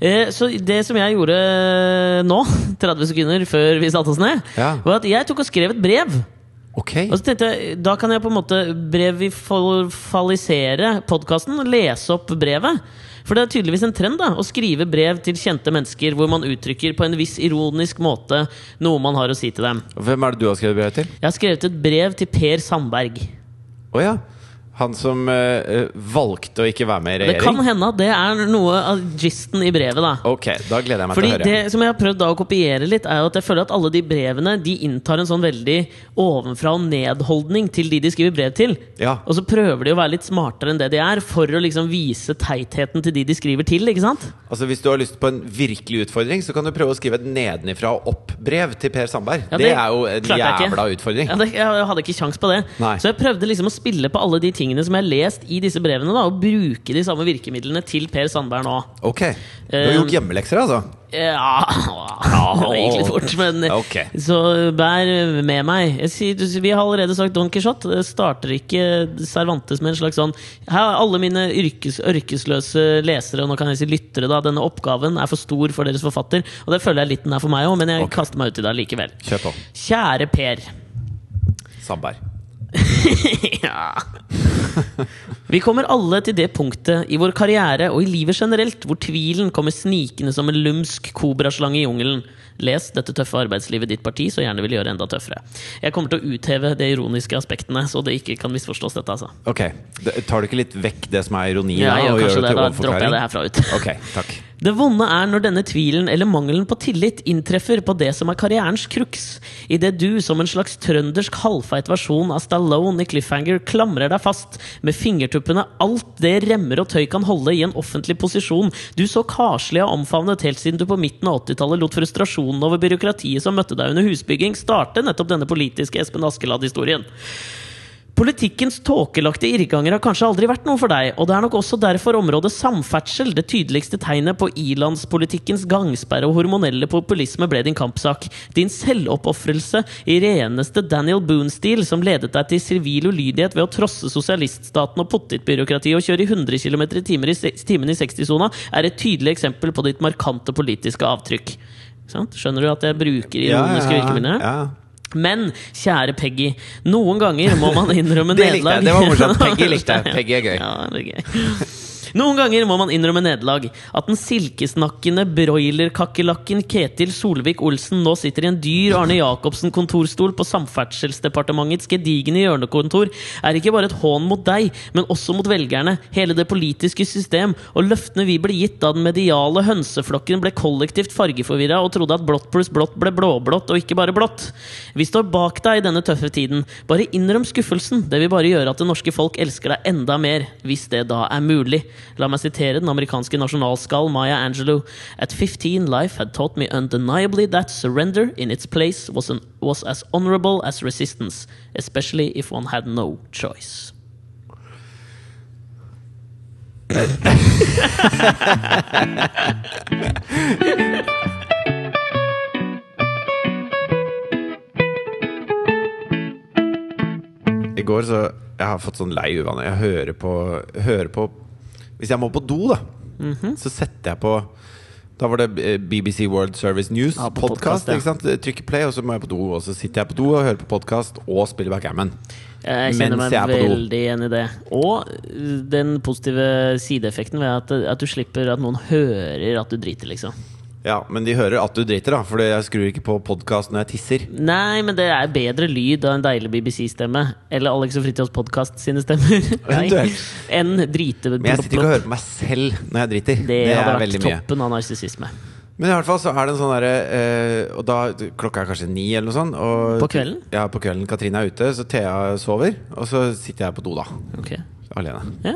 Speaker 1: Eh, Så det som jeg gjorde eh, nå, 30 sekunder før vi satte oss ned,
Speaker 2: Ja.
Speaker 1: var at jeg tok og skrev et brev.
Speaker 2: Ok,
Speaker 1: Og så tenkte jeg, Da kan jeg på en måte brevifalisere podkasten. Lese opp brevet. For det er tydeligvis en trend da å skrive brev til kjente mennesker hvor man uttrykker på en viss ironisk måte noe man har å si til dem.
Speaker 2: Hvem er det du har skrevet brev til?
Speaker 1: Jeg har skrevet et brev til Per Sandberg.
Speaker 2: Å ja. Han som eh, eh, valgte å ikke være med i
Speaker 1: Det kan
Speaker 2: regjering?
Speaker 1: hende at det er noe av gisten i brevet. da
Speaker 2: Ok, da gleder jeg meg
Speaker 1: Fordi
Speaker 2: til å høre.
Speaker 1: det som jeg har prøvd da å kopiere litt, er jo at jeg føler at alle de brevene De inntar en sånn veldig ovenfra og ned-holdning til de de skriver brev til.
Speaker 2: Ja.
Speaker 1: Og så prøver de å være litt smartere enn det de er, for å liksom vise teitheten til de de skriver til. ikke sant?
Speaker 2: Altså Hvis du har lyst på en virkelig utfordring, så kan du prøve å skrive et nedenifra og opp-brev til Per Sandberg.
Speaker 1: Ja,
Speaker 2: det,
Speaker 1: det
Speaker 2: er jo en
Speaker 1: klarte jeg ikke.
Speaker 2: jævla utfordring.
Speaker 1: Ja, det, jeg hadde ikke sjans på det.
Speaker 2: Nei.
Speaker 1: Så jeg prøvde liksom å spille på alle de tingene som jeg har lest i disse brevene, da, og bruke de samme virkemidlene til Per Sandberg nå.
Speaker 2: Ok, Du
Speaker 1: Eh,
Speaker 2: har gjort hjemmelekser, altså?
Speaker 1: Ja Det gikk litt fort, men
Speaker 2: Ok.
Speaker 1: Så bær med meg. Jeg sier, du- vi har allerede sagt Don Quijote. Det Starter ikke Cervantes med en slags sånn Her er alle mine yrkes, ørkesløse lesere, og nå kan jeg si lyttere, da. Denne oppgaven er for stor for deres forfatter. Og det føler jeg litt den er for meg òg, men jeg
Speaker 2: Ok.
Speaker 1: kaster meg uti det likevel.
Speaker 2: Kjør på.
Speaker 1: Kjære Per.
Speaker 2: Sandberg.
Speaker 1: ja. Vi kommer alle til det punktet i vår karriere og i livet generelt hvor tvilen kommer snikende som en lumsk kobraslange i jungelen. Les dette tøffe arbeidslivet ditt parti så gjerne vil gjøre enda tøffere. Jeg kommer til å utheve de ironiske aspektene, så det ikke kan misforstås, dette, altså.
Speaker 2: Ok, d- Tar du ikke litt vekk det som er ironi?
Speaker 1: Ja,
Speaker 2: da,
Speaker 1: jeg gjør
Speaker 2: og gjør
Speaker 1: kanskje det,
Speaker 2: til
Speaker 1: da
Speaker 2: overforklaring?
Speaker 1: dropper jeg det herfra ut.
Speaker 2: Ok, takk.
Speaker 1: Det vonde er når denne tvilen eller mangelen på tillit inntreffer på det som er karrierens crux, idet du som en slags trøndersk halvfeit versjon av Stallone i Cliffhanger klamrer deg fast med fingertuppene alt det remmer og tøy kan holde i en offentlig posisjon du så karslig har omfavnet helt siden du på midten av 80-tallet lot frustrasjonen over byråkratiet som møtte deg under husbygging, starte nettopp denne politiske Espen Askeladd-historien. Politikkens tåkelagte irrganger har kanskje aldri vært noe for deg, og det er nok også derfor området samferdsel, det tydeligste tegnet på ilandspolitikkens gangsperre og hormonelle populisme, ble din kampsak. Din selvoppofrelse i reneste Daniel Boone-stil, som ledet deg til sivil ulydighet ved å trosse sosialiststaten og pottitbyråkratiet og kjøre i 100 km i timer i se- timen i 60-sona, er et tydelig eksempel på ditt markante politiske avtrykk. Ikke Sant? Skjønner du at jeg bruker ironiske virkemidler? her?
Speaker 2: ja.
Speaker 1: Men kjære Peggy, noen ganger må man innrømme
Speaker 2: Det likte
Speaker 1: nederlag.
Speaker 2: jeg, det var morsomt. Peggy likte jeg. Peggy er gøy.
Speaker 1: Ja, det er gøy. Noen ganger må man innrømme nederlag. At den silkesnakkende broilerkakerlakken Ketil Solvik-Olsen nå sitter i en dyr Arne Jacobsen-kontorstol på Samferdselsdepartementets gedigne hjørnekontor, er ikke bare et hån mot deg, men også mot velgerne, hele det politiske system og løftene vi ble gitt da den mediale hønseflokken ble kollektivt fargeforvirra og trodde at blått pluss blått ble blåblått og ikke bare blått. Vi står bak deg i denne tøffe tiden. Bare innrøm skuffelsen. Det vil bare gjøre at det norske folk elsker deg enda mer, hvis det da er mulig. La meg sitere den amerikanske nasjonalskall Maya Angelou. At 15, life had taught me undeniably that surrender in its place was, an, was as honorable as resistance, especially if one had no choice.
Speaker 2: I går så Jeg har fått sånn lei uvane. Jeg hører på, hører på Hvis jeg må på do, da,
Speaker 1: Mhm.
Speaker 2: så setter jeg på da var det eh, BBC World Service News,
Speaker 1: Ja, på podcast,
Speaker 2: podkast.
Speaker 1: ja.
Speaker 2: Trykker play, og så må jeg på do. Og så sitter jeg på do og hører på podkast og spiller backgammon.
Speaker 1: Eh, Jeg kjenner
Speaker 2: Mens
Speaker 1: meg
Speaker 2: jeg er på do.
Speaker 1: veldig igjen i det. Og uh, den positive sideeffekten ved at, at du slipper at noen hører at du driter, liksom.
Speaker 2: Ja, men de hører at du driter, da, for jeg skrur ikke på podkast når jeg tisser.
Speaker 1: Nei, men det er bedre lyd av en deilig BBC-stemme. Eller Alex og Fritjofs podkast sine stemmer. Nei.
Speaker 2: Eventuelt.
Speaker 1: Enn drite
Speaker 2: Men jeg sitter ikke og hører på meg selv når jeg driter.
Speaker 1: Det, hadde
Speaker 2: er
Speaker 1: vært
Speaker 2: veldig mye.
Speaker 1: toppen av narsissisme.
Speaker 2: Men i hvert fall så er det en sånn derre eh, Og da klokka er kanskje ni eller noe sånt. Og,
Speaker 1: På kvelden?
Speaker 2: Ja, på kvelden. Katrine er ute, så Thea sover. Og så sitter jeg på do, da.
Speaker 1: Ok.
Speaker 2: Alene.
Speaker 1: Ja.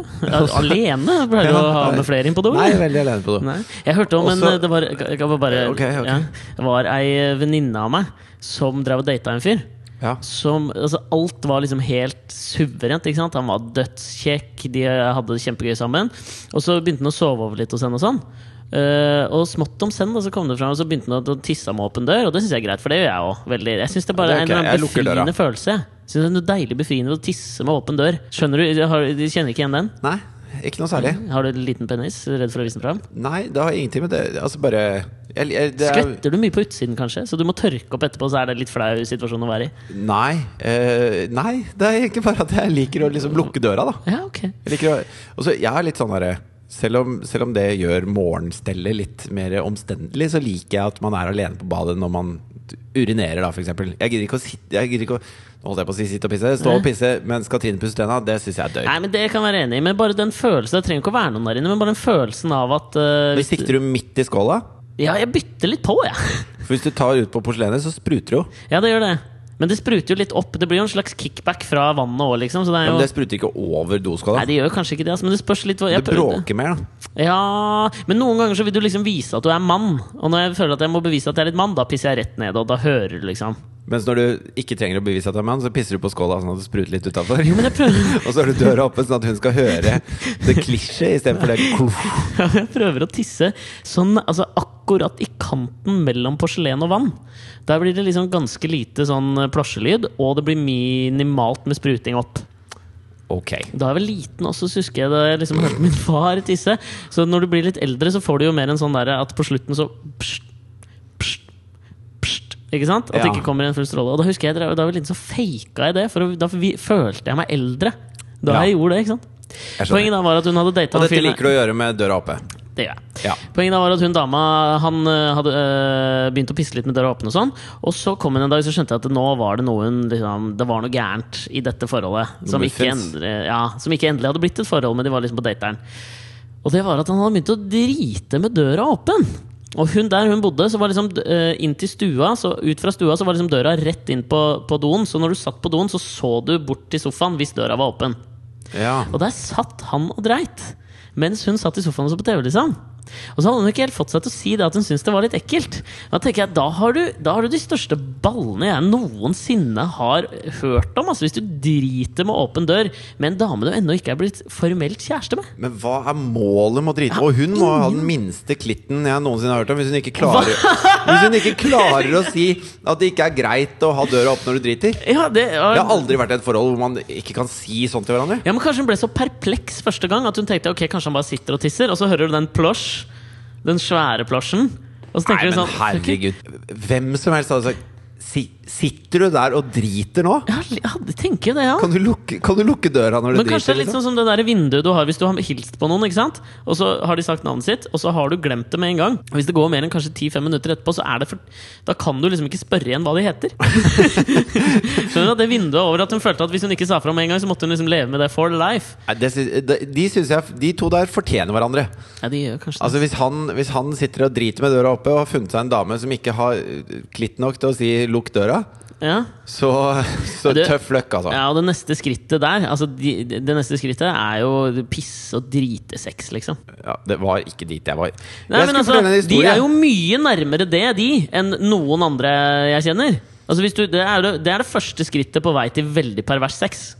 Speaker 1: Alene pleier du å ha med flere inn på do?
Speaker 2: Nei,
Speaker 1: eller?
Speaker 2: veldig alene på do.
Speaker 1: Nei. Jeg hørte om en
Speaker 2: Også-
Speaker 1: Det var, jeg kan bare,
Speaker 2: Ok, ok.
Speaker 1: Ja, det var ei venninne av meg som drev og data en fyr.
Speaker 2: Ja.
Speaker 1: Som, altså alt var liksom helt suverent. Ikke sant? Han var dødskjekk, de hadde det kjempegøy sammen. Og så begynte han å sove over litt hos henne. Og sånn Eh, og smått om senn da, så kom det fram, og så begynte han å tisse med åpen dør. Og det syns jeg er greit, for det gjør jeg òg. veldig. Jeg syns det bare
Speaker 2: Ja,
Speaker 1: er
Speaker 2: det er ok.
Speaker 1: en eller
Speaker 2: Jeg
Speaker 1: annen
Speaker 2: lukker døra.
Speaker 1: befriende følelse. Jeg synes det er noe deilig befriende å tisse med åpen dør. Skjønner du, har, du kjenner ikke igjen den?
Speaker 2: Nei, ikke noe særlig.
Speaker 1: Har du en liten penis? Redd for å vise den fram?
Speaker 2: Nei, det har ingenting med det Altså bare jeg, jeg, det er,
Speaker 1: Skvetter du mye på utsiden, kanskje? Så du må tørke opp etterpå, så er det litt flau situasjon å være i?
Speaker 2: Nei. eh, nei, det er egentlig bare at jeg liker å liksom lukke døra, da.
Speaker 1: Ja, ok.
Speaker 2: Jeg liker å Og så jeg er litt sånn derre selv om, selv om det gjør morgenstellet litt mer omstendelig, så liker jeg at man er alene på badet når man urinerer, da, f.eks. Jeg gidder ikke å sitte Jeg gidder ikke å Nå holdt jeg på å si sitte og pisse. Stå og pisse mens Katrine pusser tenna, det syns jeg er døyt.
Speaker 1: Nei, men Det kan jeg være enig i, men bare den følelsen Det trenger ikke å være noen der inne, men bare den følelsen av at eh,
Speaker 2: Men sikter du midt i skåla?
Speaker 1: Ja, jeg bytter litt på, jeg.
Speaker 2: For hvis du tar ut på porselenet, så spruter det jo.
Speaker 1: Ja. det gjør det. Men det spruter jo litt opp. Det blir jo en slags kickback fra vannet òg, liksom. Så det er
Speaker 2: Men
Speaker 1: jo
Speaker 2: det spruter ikke over doskåla.
Speaker 1: Nei, det gjør jo kanskje ikke det, altså, men det spørs litt hva
Speaker 2: Det
Speaker 1: jeg prøvde.
Speaker 2: bråker mer, da.
Speaker 1: Ja, men noen ganger så vil du liksom vise at du er mann. Og når jeg føler at jeg må bevise at jeg er litt mann, da pisser jeg rett ned, og da hører du, liksom.
Speaker 2: Mens når du ikke trenger å bevise at du er mann, så pisser du på skåla sånn at det spruter litt utafor.
Speaker 1: Men jeg prøver
Speaker 2: Og så har du døra oppe, sånn at hun skal høre det klisjé istedenfor det kloff.
Speaker 1: Ja, Jeg prøver å tisse sånn, altså akkurat i kanten mellom porselen og vann. Der blir det liksom ganske lite sånn eh, plosjelyd, og det blir minimalt med spruting opp.
Speaker 2: Ok.
Speaker 1: Da jeg var liten også, så husker jeg da jeg liksom hørte min far tisse. Så når du blir litt eldre, så får du jo mer en sånn derre at på slutten så pst, pst, pst, Ikke sant? At det
Speaker 2: Ja.
Speaker 1: ikke kommer en full stråle. Og da husker jeg da jeg var liten, så faka jeg det, for å- da vi- følte jeg meg eldre. Da
Speaker 2: Ja.
Speaker 1: jeg gjorde det, ikke sant?
Speaker 2: Jeg skjønner.
Speaker 1: Poenget da var at hun hadde data
Speaker 2: Og dette liker du å gjøre med døra oppe.
Speaker 1: Det gjør jeg.
Speaker 2: Ja.
Speaker 1: Poenget da var at hun dama Han eh, hadde eh, begynt å pisse litt med døra åpen, og sånn Og så kom hun en dag så skjønte jeg at nå var det noen liksom, Det var noe gærent i dette forholdet. Som ikke,
Speaker 2: muffins.
Speaker 1: endre, ja, som ikke endelig hadde blitt et forhold, men de var liksom på dateren. Og det var at han hadde begynt å drite med døra åpen. Og hun der hun bodde, så var liksom eh, inn til stua, så ut fra stua så var liksom døra rett inn på, på doen. Så når du satt på doen, så så du bort til sofaen hvis døra var åpen.
Speaker 2: Ja.
Speaker 1: Og der satt han og dreit. Mens hun satt i sofaen og så på TV, liksom. Og så hadde hun ikke helt fått seg til å si det at hun syntes det var litt ekkelt. Da tenker jeg, da har du, da har du de største ballene jeg noensinne har hørt om. Altså, hvis du driter med åpen dør med en dame du ennå ikke er blitt formelt kjæreste med.
Speaker 2: Men hva er målet med å drite? Og hun må ha den minste klitten jeg noensinne har hørt om. Hvis hun ikke klarer, hvis hun ikke klarer å si at det ikke er greit å ha døra opp når du driter.
Speaker 1: Ja, det,
Speaker 2: Det har aldri vært et forhold hvor man ikke kan si sånn til hverandre.
Speaker 1: Ja, men Kanskje hun ble så perpleks første gang at hun tenkte ok, kanskje han bare sitter og tisser. Og så hører du den plosj, den svære plosjen. Og så
Speaker 2: Nei,
Speaker 1: tenker du
Speaker 2: men
Speaker 1: sånn ok,
Speaker 2: herregud. Hvem som helst hadde sagt si, Sitter du der og driter nå?
Speaker 1: Ja, li- ja, jeg tenker jo det, ja.
Speaker 2: Kan du lukke, kan du lukke døra når du
Speaker 1: Men kanskje det
Speaker 2: driter? liksom?"
Speaker 1: er litt sånn som det der vinduet du har hvis du har hilst på noen, ikke sant? og så har de sagt navnet sitt, og så har du glemt det med en gang. Og Hvis det går mer enn kanskje 10-5 minutter etterpå, så er det for, da kan du liksom ikke spørre igjen hva de heter. Skjønner du at det vinduet over at hun følte at hvis hun ikke sa fra med en gang, så måtte hun liksom leve med det for life.
Speaker 2: Nei, det syns- de, de, syns jeg, de to der fortjener hverandre.
Speaker 1: Ja, de gjør kanskje det.
Speaker 2: Altså hvis han, hvis han sitter og driter med døra oppe og har funnet seg en dame som ikke har eh, klitt nok til å si 'lukk døra',
Speaker 1: Ja.
Speaker 2: Så, så
Speaker 1: Det-
Speaker 2: tøff løkk, altså.
Speaker 1: Ja, og det neste skrittet der altså de, Det neste skrittet er jo piss og dritesex, liksom.
Speaker 2: Ja, det var ikke dit jeg
Speaker 1: Nei,
Speaker 2: var. jeg
Speaker 1: men
Speaker 2: skulle
Speaker 1: altså,
Speaker 2: fortelle
Speaker 1: De
Speaker 2: en historie.
Speaker 1: er jo mye nærmere det, de, enn noen andre jeg kjenner. Altså, hvis du, det, er det, det er det første skrittet på vei til veldig pervers sex.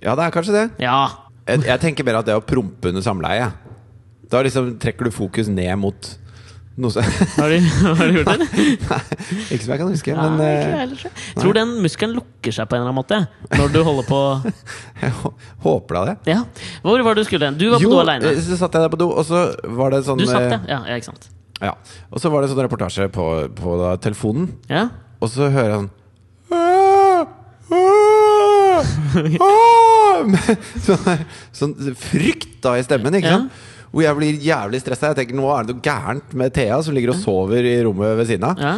Speaker 2: Ja, det er kanskje det.
Speaker 1: Ja.
Speaker 2: Jeg, jeg tenker mer at det å prompe under samleie Da liksom trekker du fokus ned mot noe som
Speaker 1: Har du, har du gjort det?
Speaker 2: Ikke som jeg kan huske,
Speaker 1: Nei,
Speaker 2: men
Speaker 1: ikke jeg
Speaker 2: eh,
Speaker 1: heller, tror jeg. Tror den muskelen lukker seg på en eller annen måte når du holder på
Speaker 2: jeg hå- håper da det.
Speaker 1: Ja. Hvor var det du skulle? Du var på do aleine.
Speaker 2: eh, så satt jeg der på do, og så var det sånn
Speaker 1: Du satt, ja.
Speaker 2: eh,
Speaker 1: ja. Ja, ikke sant.
Speaker 2: ja. Og så var det sånn reportasje på, på da, telefonen,
Speaker 1: Ja.
Speaker 2: og så hører jeg sånn «Åh, åh, åh!» sånn, der, sånn frykt da i stemmen, ikke
Speaker 1: Ja.
Speaker 2: sant? Hvor jeg blir jævlig stressa. Jeg tenker nå er det noe gærent med Thea som ligger og sover i rommet ved siden av.
Speaker 1: ja.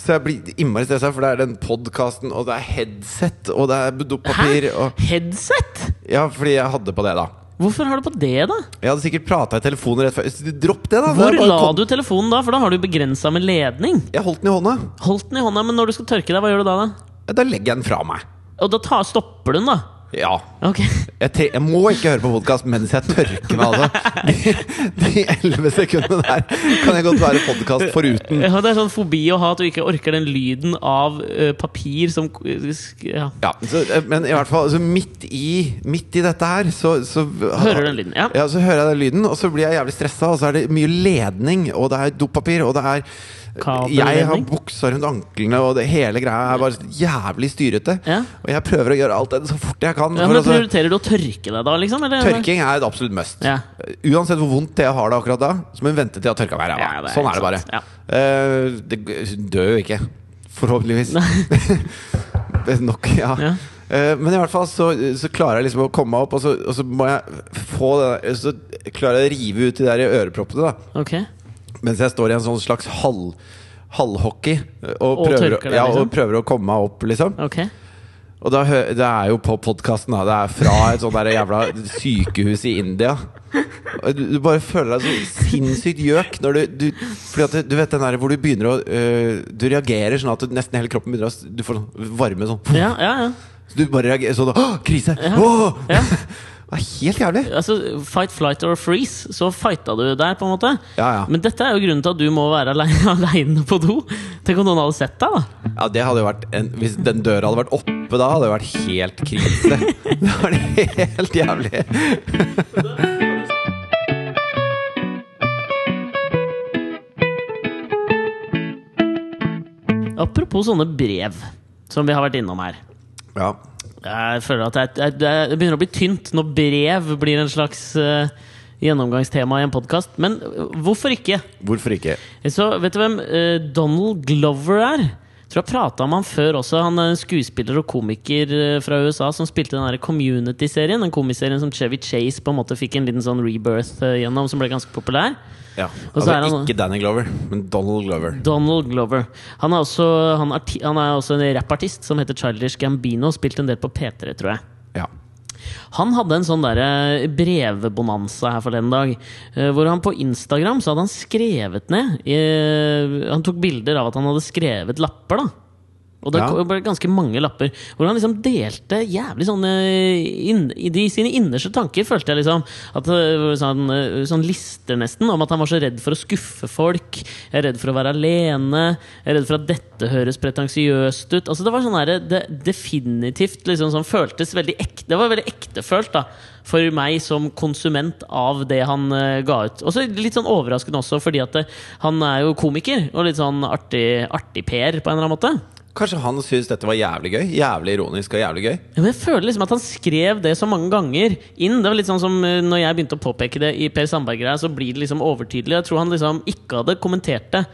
Speaker 2: Så jeg blir innmari stressa, for det er den podkasten, og det er headset, og det er dopapir
Speaker 1: Hæ?
Speaker 2: og
Speaker 1: Headset?
Speaker 2: Ja, fordi jeg hadde på det, da.
Speaker 1: Hvorfor har du på det, da?
Speaker 2: Jeg hadde sikkert prata i telefonen rett før. Så Dropp det, da!
Speaker 1: Hvor
Speaker 2: Jeg bare
Speaker 1: la
Speaker 2: kom-
Speaker 1: du telefonen da? For da har du begrensa med ledning.
Speaker 2: Jeg holdt den i hånda.
Speaker 1: Holdt den i hånda, men når du skal tørke deg, hva gjør du da? da?
Speaker 2: Da legger jeg den fra meg.
Speaker 1: Og da ta, stopper du den, da?
Speaker 2: Ja.
Speaker 1: Ok.
Speaker 2: Jeg, tre jeg må ikke høre på podkast mens jeg tørker meg, altså. De- De elleve sekundene der kan jeg godt være podkast foruten.
Speaker 1: Ja, det er sånn fobi å ha at du ikke orker den lyden av ø, papir som sk- ja.
Speaker 2: Ja, så, eh, men i hvert fall altså, midt, i, midt i dette her, så, så
Speaker 1: Hører du den lyden? Ja.
Speaker 2: Ja, så hører jeg den lyden, og så blir jeg jævlig stressa. Og så er det mye ledning, og det er dopapir, og det er
Speaker 1: Kabelledning?
Speaker 2: Jeg har buksa rundt anklene, og det hele greia er bare jævlig styrete.
Speaker 1: Ja.
Speaker 2: Og jeg prøver å gjøre alt det så fort jeg kan.
Speaker 1: Ja,
Speaker 2: for
Speaker 1: men
Speaker 2: altså,
Speaker 1: Prioriterer du å tørke deg da, liksom? Eller?
Speaker 2: tørking er et absolutt must.
Speaker 1: Ja.
Speaker 2: Uansett hvor vondt det har det akkurat da, så må hun vente til jeg har tørka meg i ræva.
Speaker 1: Ja, det er
Speaker 2: sånn er det
Speaker 1: helt
Speaker 2: bare.
Speaker 1: sant. Ja.
Speaker 2: Eh, det, hun dør jo ikke. Forhåpentligvis. Nok, ja.
Speaker 1: Ja.
Speaker 2: Eh, men i hvert fall så, så klarer jeg liksom å komme meg opp, og så, og så må jeg få det der, Så klarer jeg å rive ut de der øreproppene, da.
Speaker 1: Ok.
Speaker 2: Mens jeg står i en sånn slags halv halvhockey og
Speaker 1: Og
Speaker 2: prøver,
Speaker 1: tørker deg,
Speaker 2: ja, og
Speaker 1: liksom?
Speaker 2: prøver å komme meg opp, liksom.
Speaker 1: Ok.
Speaker 2: Og da, hø- det er jo på podkasten, da. Det er fra et sånt der jævla sykehus i India. Og Du, du bare føler deg så sinnssykt gjøk når du, du Fordi at du vet den der hvor du begynner å øh, Du reagerer sånn at du, nesten hele kroppen begynner å s- Du får sånn varme sånn.
Speaker 1: Ja, ja, ja.
Speaker 2: Så du bare reagerer sånn Åh, krise! Åh!
Speaker 1: ja.
Speaker 2: Det er helt jævlig.
Speaker 1: Altså, fight, flight or freeze. Så fighta du der, på en måte.
Speaker 2: Ja, ja.
Speaker 1: Men dette er jo grunnen til at du må være aleine på do. Tenk om noen hadde sett deg, da.
Speaker 2: Ja, det hadde jo vært en, Hvis den døra hadde vært oppe da, hadde det vært helt krise. Det var helt jævlig.
Speaker 1: Apropos sånne brev som vi har vært innom her.
Speaker 2: Ja.
Speaker 1: Jeg føler at det, er- det, er- det begynner å bli tynt når brev blir en slags eh, gjennomgangstema i en podkast. Men eh, hvorfor ikke?
Speaker 2: Hvorfor ikke?
Speaker 1: Så vet du hvem eh, Donald Glover er? Tror jeg prata om han før også. Han er en skuespiller og komiker eh, fra USA som spilte den der Community-serien. Den komiserien som Chevy Chase på en måte fikk en liten sånn rebirth eh, gjennom, som ble ganske populær.
Speaker 2: Ja.
Speaker 1: Og så
Speaker 2: Altså,
Speaker 1: er han-
Speaker 2: ikke Danny Glover, men Donald Glover.
Speaker 1: Donald Glover. Han er også, han er, ti- han er også en rappartist som heter Childish Gambino. Spilte en del på P3, tror jeg.
Speaker 2: Ja.
Speaker 1: Han hadde en sånn derre brevbonanza her forleden dag. eh, Hvor han på Instagram så hadde han skrevet ned eh, Han tok bilder av at han hadde skrevet lapper, da. Og det
Speaker 2: Ja.
Speaker 1: kom- ble ganske mange lapper. Hvor han liksom delte jævlig sånne eh, inn, I de sine innerste tanker følte jeg liksom at det var sånn, eh, sånn lister nesten om at han var så redd for å skuffe folk. Jeg er redd for å være alene. Jeg er redd for at dette høres pretensiøst ut. Altså Det var sånn her, det definitivt liksom som føltes veldig ekte. Det var veldig ektefølt da for meg som konsument av det han eh, ga ut. Og så litt sånn overraskende også, fordi at eh, han er jo komiker og litt sånn artig, artig Per på en eller annen måte.
Speaker 2: Kanskje han syns dette var jævlig gøy? Jævlig ironisk og jævlig gøy?
Speaker 1: Ja, men jeg føler liksom at han skrev det så mange ganger inn. Det var litt sånn som eh, når jeg begynte å påpeke det i Per Sandberg-greia, så blir det liksom overtydelig. Jeg tror han liksom ikke hadde kommentert det.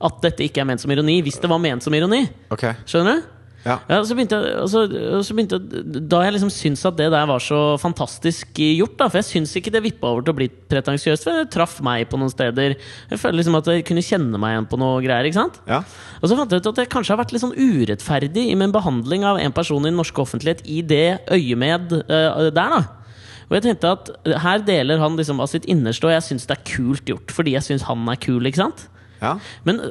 Speaker 1: At dette ikke er ment som ironi, hvis det var ment som ironi.
Speaker 2: Ok
Speaker 1: Skjønner du?
Speaker 2: Ja.
Speaker 1: Ja, så begynte jeg, og så, og så begynte jeg Da jeg liksom syntes at det der var så fantastisk gjort, da, for jeg syns ikke det vippa over til å bli pretensiøst, for det traff meg på noen steder. Jeg føler liksom at jeg kunne kjenne meg igjen på noe greier. ikke sant?
Speaker 2: Ja.
Speaker 1: Og så fant jeg ut at jeg kanskje har vært litt sånn urettferdig i min behandling av en person i den norske offentlighet i det øyemed eh, der, da. Og jeg tenkte at her deler han liksom av sitt innerste, og jeg syns det er kult gjort. Fordi jeg syns han er kul, ikke sant?
Speaker 2: ja.
Speaker 1: Men øh,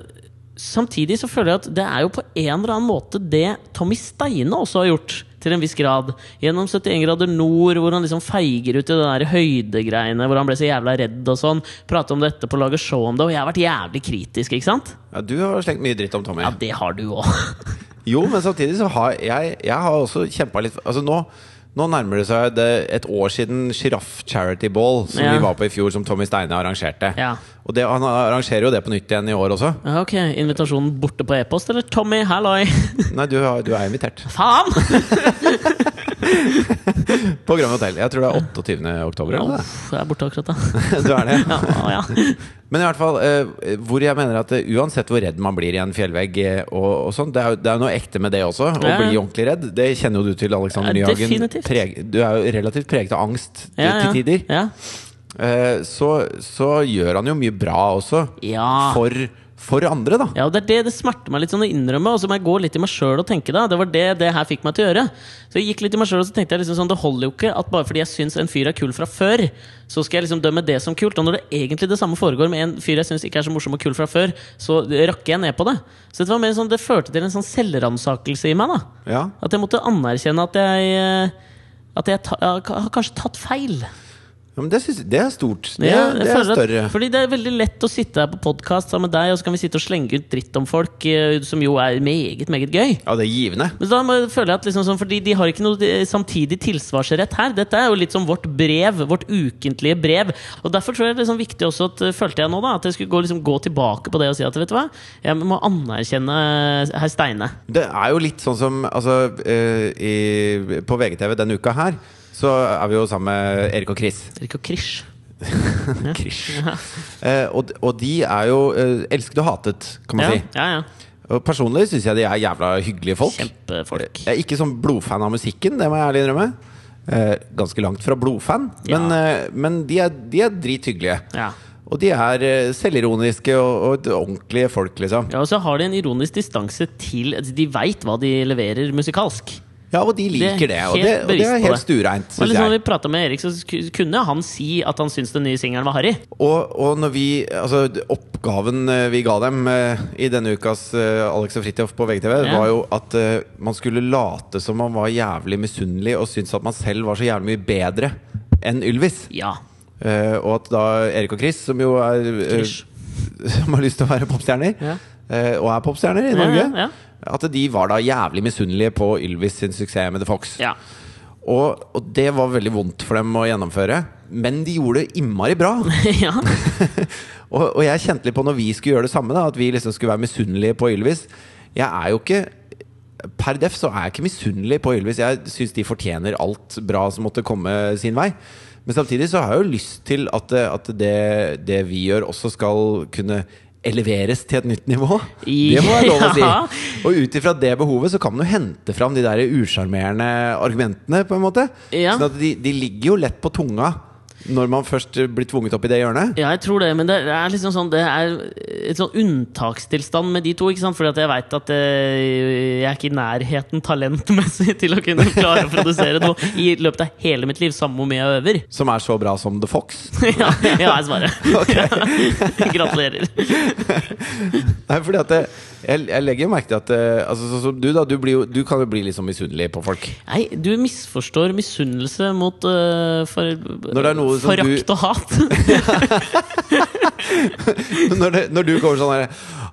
Speaker 1: samtidig så føler jeg at det er jo på en eller annen måte det Tommy Steine også har gjort. Til en viss grad. Gjennom 71 grader nord, hvor han liksom feiger ut i det der høydegreiene. Hvor han ble så jævla redd og sånn. Prate om det etterpå, lage show om det. Og jeg har vært jævlig kritisk, ikke sant?
Speaker 2: ja du har slengt mye dritt om Tommy.
Speaker 1: Ja, det har du òg.
Speaker 2: Jo, men samtidig så har jeg, jeg har også kjempa litt Altså nå, nå nærmer det seg det et år siden Sjiraff Charity Ball, som
Speaker 1: Ja.
Speaker 2: vi var på i fjor, som Tommy Steine arrangerte.
Speaker 1: Ja.
Speaker 2: Og det, han arrangerer jo det på nytt igjen i år også.
Speaker 1: Ja, ok, Invitasjonen borte på e-post, eller? Tommy, halloi!
Speaker 2: Nei, du, har- du er invitert.
Speaker 1: Faen!
Speaker 2: På Grand Hotel. Jeg tror det er 28. oktober. Eller? noe,
Speaker 1: Uff, jeg er borte akkurat, da.
Speaker 2: det. Du er det?
Speaker 1: Ja, å, ja.
Speaker 2: Men i hvert fall, eh, hvor jeg mener at eh, uansett hvor redd man blir i en fjellvegg, eh, og, og sånn, det, er, jo- det er jo noe ekte med det også, å
Speaker 1: Ja, ja.
Speaker 2: bli ordentlig redd. Det kjenner jo du til, Alexander
Speaker 1: Ja,
Speaker 2: Nyhagen.
Speaker 1: definitivt.
Speaker 2: Preg- du er jo relativt preget av angst til,
Speaker 1: Ja, ja.
Speaker 2: til tider.
Speaker 1: Ja.
Speaker 2: Eh, så, så gjør han jo mye bra også.
Speaker 1: Ja.
Speaker 2: For, for andre, da.
Speaker 1: Ja, og det er det det smerter meg litt sånn å innrømme, og så må jeg gå litt i meg sjøl og tenke da. Det var det det her fikk meg til å gjøre. Så jeg gikk litt i meg selv, og så tenkte jeg liksom sånn, det holder jo ikke at bare fordi jeg syns en fyr er kul fra før, så skal jeg liksom dømme det som kult. Og når det egentlig det samme foregår med en fyr jeg syns ikke er så morsom og kul fra før, så rakker jeg ned på det. Så det var mer sånn, det førte til en sånn selvransakelse i meg, da.
Speaker 2: Ja.
Speaker 1: At jeg måtte anerkjenne at jeg eh, at jeg, ta, jeg har kanskje tatt feil.
Speaker 2: ja men det, synes, det er stort. Det,
Speaker 1: Ja, jeg
Speaker 2: det er
Speaker 1: føler at-
Speaker 2: større.
Speaker 1: Fordi det er veldig lett å sitte her på podkast sammen med deg, og så kan vi sitte og slenge ut dritt om folk, eh, som jo er meget, meget gøy.
Speaker 2: Ja, det er givende.
Speaker 1: Men da må jeg- føler jeg at liksom sånn, fordi de har ikke noe eh, samtidig tilsvarsrett her. Dette er jo litt som vårt brev, vårt ukentlige brev. Og derfor tror jeg det er sånn viktig også at, eh, følte jeg nå da, at jeg skulle gå, liksom, gå tilbake på det og si at vet du hva, jeg må anerkjenne eh, herr Steine.
Speaker 2: Det er jo litt sånn som altså, eh, i, På VGTV denne uka her så er vi jo sammen med Erik og Chris.
Speaker 1: Erik og Krish.
Speaker 2: Krish. Eh, og, og de er jo eh, elsket og hatet, kan man
Speaker 1: Ja,
Speaker 2: si.
Speaker 1: ja, ja.
Speaker 2: Og personlig syns jeg de er jævla hyggelige folk.
Speaker 1: Kjempefolk.
Speaker 2: Jeg er ikke sånn blodfan av musikken, det må jeg ærlig innrømme. Eh, ganske langt fra blodfan,
Speaker 1: Ja.
Speaker 2: men, eh, men de er, de er drithyggelige.
Speaker 1: Ja.
Speaker 2: Og de er eh, selvironiske og, og ordentlige folk, liksom.
Speaker 1: Ja, og så har de en ironisk distanse til De veit hva de leverer musikalsk.
Speaker 2: Ja, og de liker det, og
Speaker 1: helt
Speaker 2: det, og det
Speaker 1: bevisst
Speaker 2: er
Speaker 1: på
Speaker 2: helt
Speaker 1: det.
Speaker 2: stureint,
Speaker 1: Og
Speaker 2: syns
Speaker 1: liksom, når
Speaker 2: jeg.
Speaker 1: vi prata med Erik, så sk- kunne han si at han syntes den nye singelen var harry.
Speaker 2: Og, og når vi Altså, oppgaven eh, vi ga dem eh, i denne ukas eh, Alex og Fridtjof på VGTV,
Speaker 1: Ja.
Speaker 2: var jo at eh, man skulle late som man var jævlig misunnelig og syntes at man selv var så jævlig mye bedre enn Ylvis.
Speaker 1: Ja.
Speaker 2: Eh, og at da Erik og Chris, som jo er eh,
Speaker 1: Krish.
Speaker 2: Som har lyst til å være popstjerner,
Speaker 1: Ja.
Speaker 2: eh, og er popstjerner i
Speaker 1: Ja,
Speaker 2: Norge,
Speaker 1: ja, ja.
Speaker 2: at de var da jævlig misunnelige på Ylvis sin suksess med The Fox.
Speaker 1: ja.
Speaker 2: Og, og det var veldig vondt for dem å gjennomføre, men de gjorde det innmari bra.
Speaker 1: ja.
Speaker 2: og, og jeg kjente litt på når vi skulle gjøre det samme, da, at vi liksom skulle være misunnelige på Ylvis. Jeg er jo ikke Per def så er jeg ikke misunnelig på Ylvis. Jeg syns de fortjener alt bra som måtte komme sin vei. Men samtidig så har jeg jo lyst til at, det- at det, det vi gjør, også skal kunne eleveres til et nytt nivå.
Speaker 1: I-
Speaker 2: Det må være lov å si.
Speaker 1: Ja.
Speaker 2: Og ut ifra det behovet så kan man jo hente fram de der usjarmerende argumentene, på en måte.
Speaker 1: Ja.
Speaker 2: Sånn at de, de ligger jo lett på tunga Når man først eh, blir tvunget opp i det hjørnet?
Speaker 1: Ja, jeg tror det, men det er liksom sånn Det er et sånn unntakstilstand med de to. ikke sant? Fordi at jeg veit at eh, jeg er ikke i nærheten talentmessig til å kunne klare å produsere noe i løpet av hele mitt liv, samme hvor mye jeg øver.
Speaker 2: Som er så bra som The Fox?
Speaker 1: ja, ja, jeg svarer. Gratulerer.
Speaker 2: Nei, fordi at det, jeg, jeg legger jo merke til at eh, altså, Sånn som du, da. Du, blir jo, du kan jo bli litt sånn misunnelig på folk.
Speaker 1: Nei, du misforstår misunnelse mot eh, for,
Speaker 2: det er noe som
Speaker 1: forakt
Speaker 2: du-
Speaker 1: og hat.
Speaker 2: Når, det, når du kommer sånn der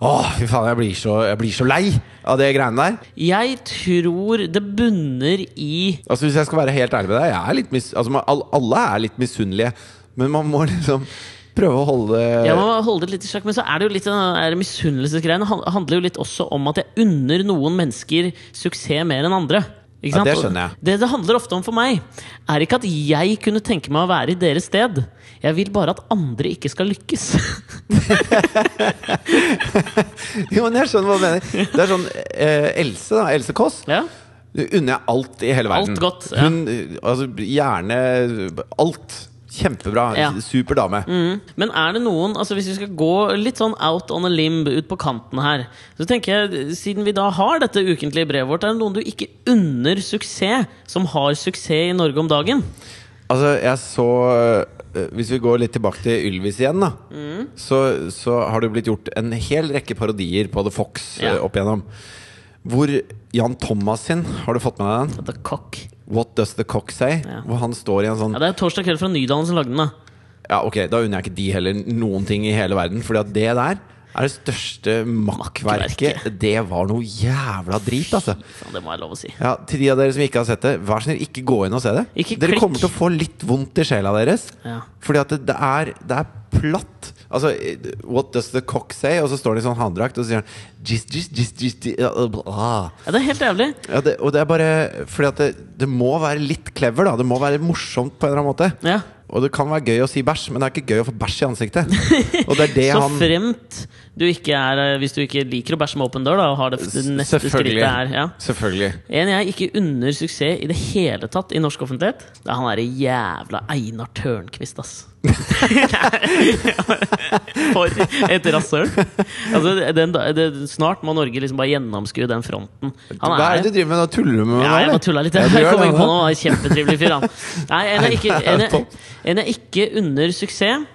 Speaker 2: Åh, fy faen, jeg blir, så, jeg blir så lei av det greiene der.
Speaker 1: Jeg tror det bunner i
Speaker 2: Altså Hvis jeg skal være helt ærlig med deg, jeg er litt mis altså, man, all- alle er litt misunnelige. Men man må liksom prøve å holde
Speaker 1: Jeg må holde det litt i sjakk, men så er det jo litt den der misunnelsesgreiene han- handler jo litt også om at jeg unner noen mennesker suksess mer enn andre. Ikke
Speaker 2: Ja,
Speaker 1: sant?
Speaker 2: det skjønner jeg.
Speaker 1: Det det handler ofte om for meg, er ikke at jeg kunne tenke meg å være i deres sted. Jeg vil bare at andre ikke skal lykkes.
Speaker 2: Jo, men jeg skjønner hva du mener. Det er sånn eh, Else, da. Else Kåss.
Speaker 1: ja?
Speaker 2: Du unner jeg alt i hele verden.
Speaker 1: Alt godt, ja.
Speaker 2: Hun eh, Altså, gjerne alt. Kjempebra.
Speaker 1: Ja.
Speaker 2: Super dame.
Speaker 1: Mm. Men er det noen altså Hvis vi skal gå litt sånn out on a limb ut på kanten her Så tenker jeg, siden vi da har dette ukentlige brevet vårt Er det noen du ikke unner suksess Som har suksess i Norge om dagen?
Speaker 2: Altså, jeg så eh, Hvis vi går litt tilbake til Ylvis igjen, da.
Speaker 1: Mm.
Speaker 2: Så, så har det blitt gjort en hel rekke parodier på The Fox
Speaker 1: Ja.
Speaker 2: eh, opp igjennom. Hvor Jan Thomas sin, har du fått med deg den?
Speaker 1: The Cock
Speaker 2: What Does The Cock Say?
Speaker 1: Ja.
Speaker 2: Hvor han står i en sånn
Speaker 1: Ja, det er torsdag kveld fra Nydalen som lagde den da
Speaker 2: Ja, ok, da unner jeg ikke de heller noen ting i hele verden. Fordi at det der er det største makkverket.
Speaker 1: Makkverket.
Speaker 2: Det var noe jævla drit, altså.
Speaker 1: Faen, Det må jeg lov å si
Speaker 2: Ja, til de av dere som ikke har sett det, vær så snill, ikke gå inn og se det.
Speaker 1: Ikke
Speaker 2: dere
Speaker 1: klikk.
Speaker 2: kommer til å få litt vondt i sjela deres.
Speaker 1: Ja.
Speaker 2: Fordi at det, det, er, det er platt. Altså, eh, what does the cock say? Og så står han i sånn handdrakt og så sier han gis, gis, gis, gis, gis, ja, øh, bla.
Speaker 1: ja, Det er helt jævlig
Speaker 2: ja, det, Og det er bare fordi at det, det må være litt clever, da. Det må være morsomt på en eller annen måte.
Speaker 1: ja.
Speaker 2: Og det kan være gøy å si bæsj, men det er ikke gøy å få bæsj i ansiktet. Og det er det
Speaker 1: Så
Speaker 2: han
Speaker 1: fremt du ikke er eh, Hvis du ikke liker å bæsje med åpen dør da Og har det f- det neste skrittet her ja.
Speaker 2: Selvfølgelig.
Speaker 1: En jeg ikke unner suksess i det hele tatt i norsk offentlighet, det er han derre jævla Einar Tørnquist, ass. For et rasshøl! Altså, den, da- det, snart må Norge liksom bare gjennomskue den fronten. Han
Speaker 2: Hva er det du driver med? Nå tuller du med meg?
Speaker 1: ja, jeg
Speaker 2: eller?
Speaker 1: bare tulla litt.
Speaker 2: Ja, du
Speaker 1: Jeg
Speaker 2: gjør
Speaker 1: kom
Speaker 2: det,
Speaker 1: ikke på
Speaker 2: da.
Speaker 1: noe. Han er en Kjempetrivelig fyr, han. Nei, en jeg ikke, en jeg,
Speaker 2: Topp.
Speaker 1: en jeg ikke unner suksess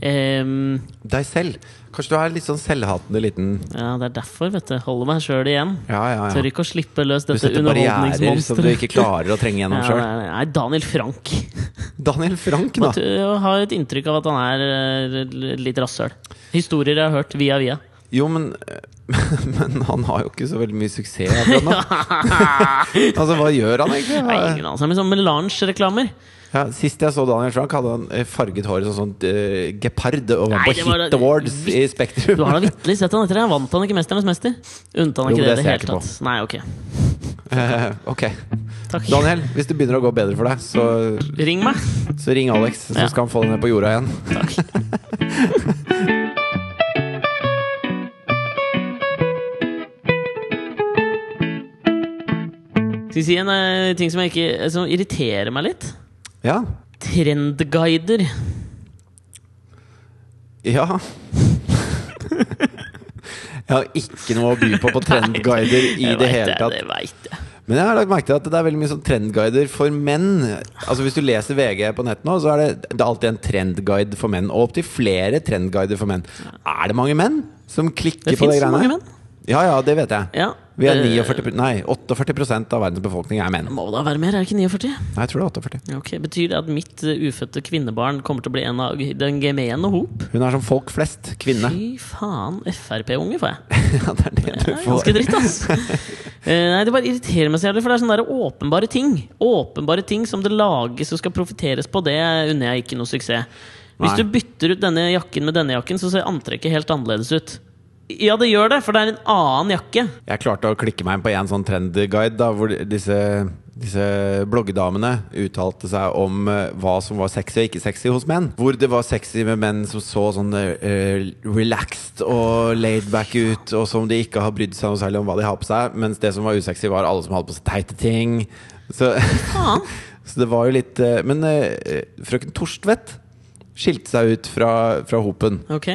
Speaker 1: Ehm,
Speaker 2: Deg selv. Kanskje du er litt sånn selvhatende liten
Speaker 1: Ja, det er derfor, vet du. Holder meg sjøl igjen.
Speaker 2: Ja, ja,
Speaker 1: Tør
Speaker 2: ja.
Speaker 1: ikke å slippe løs
Speaker 2: Du
Speaker 1: dette
Speaker 2: setter barrierer som du
Speaker 1: underholdningsmonsteret.
Speaker 2: ikke klarer å trenge
Speaker 1: Ja,
Speaker 2: gjennom
Speaker 1: nei,
Speaker 2: sjøl.
Speaker 1: nei, nei, Daniel Frank.
Speaker 2: Daniel Frank, da.
Speaker 1: At jeg har et inntrykk av at han er eh, litt rasshøl. Historier jeg har hørt via via.
Speaker 2: Jo, men Men han har jo ikke så veldig mye suksess akkurat nå. altså, hva gjør han
Speaker 1: Nei,
Speaker 2: egentlig?
Speaker 1: ingen anelse. Men sånn Melange-reklamer.
Speaker 2: Ja, sist jeg så Daniel Frank, hadde han eh, farget håret som sånn eh, gepard og var
Speaker 1: Nei,
Speaker 2: på
Speaker 1: det var
Speaker 2: Hit
Speaker 1: da-
Speaker 2: Awards i
Speaker 1: Du
Speaker 2: Spektrum.
Speaker 1: har da vitterlig sett han etter det? Vant han ikke 'Mesternes mester'? Unnte han
Speaker 2: Jo,
Speaker 1: ikke det i
Speaker 2: det
Speaker 1: det
Speaker 2: ser jeg
Speaker 1: hele
Speaker 2: ikke på.
Speaker 1: tatt? Nei, ok.
Speaker 2: Eh, ok.
Speaker 1: Takk.
Speaker 2: Daniel, hvis det begynner å gå bedre for deg, så,
Speaker 1: Ring meg.
Speaker 2: så ring Alex, så
Speaker 1: Ja.
Speaker 2: skal han få deg ned på jorda igjen.
Speaker 1: Takk. Skal vi si en eh, ting som, jeg ikke, som irriterer meg litt?
Speaker 2: Ja.
Speaker 1: Trendguider.
Speaker 2: Ja. Jeg har ikke noe å by på på trendguider i
Speaker 1: Jeg
Speaker 2: det
Speaker 1: vet
Speaker 2: hele tatt.
Speaker 1: Det veit jeg.
Speaker 2: Men jeg har lagt merke til at det er veldig mye sånn trendguider for menn. Altså Hvis du leser VG på nett nå, så er det, det er alltid en trendguide for menn. Og opptil flere trendguider for menn. Er det mange menn som klikker
Speaker 1: Det
Speaker 2: på
Speaker 1: finnes
Speaker 2: de
Speaker 1: så
Speaker 2: greiene?
Speaker 1: mange menn.
Speaker 2: Ja, ja, det vet jeg.
Speaker 1: Ja.
Speaker 2: Vi er
Speaker 1: Eh,
Speaker 2: 49, pro- nei, 48 prosent av verdens befolkning er menn.
Speaker 1: Må da være mer, er det ikke 49?
Speaker 2: Nei, jeg tror det er 48.
Speaker 1: Ok, Betyr det at mitt eh, ufødte kvinnebarn kommer til å bli en av den gemene hop?
Speaker 2: Hun er som folk flest. Kvinne.
Speaker 1: Fy faen, Frp-unge får jeg.
Speaker 2: Ja, det er det
Speaker 1: Det
Speaker 2: du
Speaker 1: er
Speaker 2: får.
Speaker 1: ganske dritt, ass. Eh, Nei, Det bare irriterer meg så jævlig, for det er sånne der åpenbare ting. Åpenbare ting som det lages og skal profitteres på, det unner jeg ikke noe suksess. Hvis
Speaker 2: Nei.
Speaker 1: du bytter ut denne jakken med denne jakken, så ser antrekket helt annerledes ut. Ja, det gjør det, for det er en annen jakke.
Speaker 2: Jeg klarte å klikke meg inn på en sånn trendguide da, hvor disse, disse bloggedamene uttalte seg om eh, hva som var sexy og ikke sexy hos menn. Hvor det var sexy med menn som så sånn eh, relaxed og laid back ut, og som de ikke har brydd seg noe særlig om hva de har på seg, mens det som var usexy, var alle som hadde på seg teite ting. Så
Speaker 1: Faen.
Speaker 2: Så det var jo litt eh, Men eh, frøken Torstvedt skilte seg ut fra, fra hopen.
Speaker 1: Ok.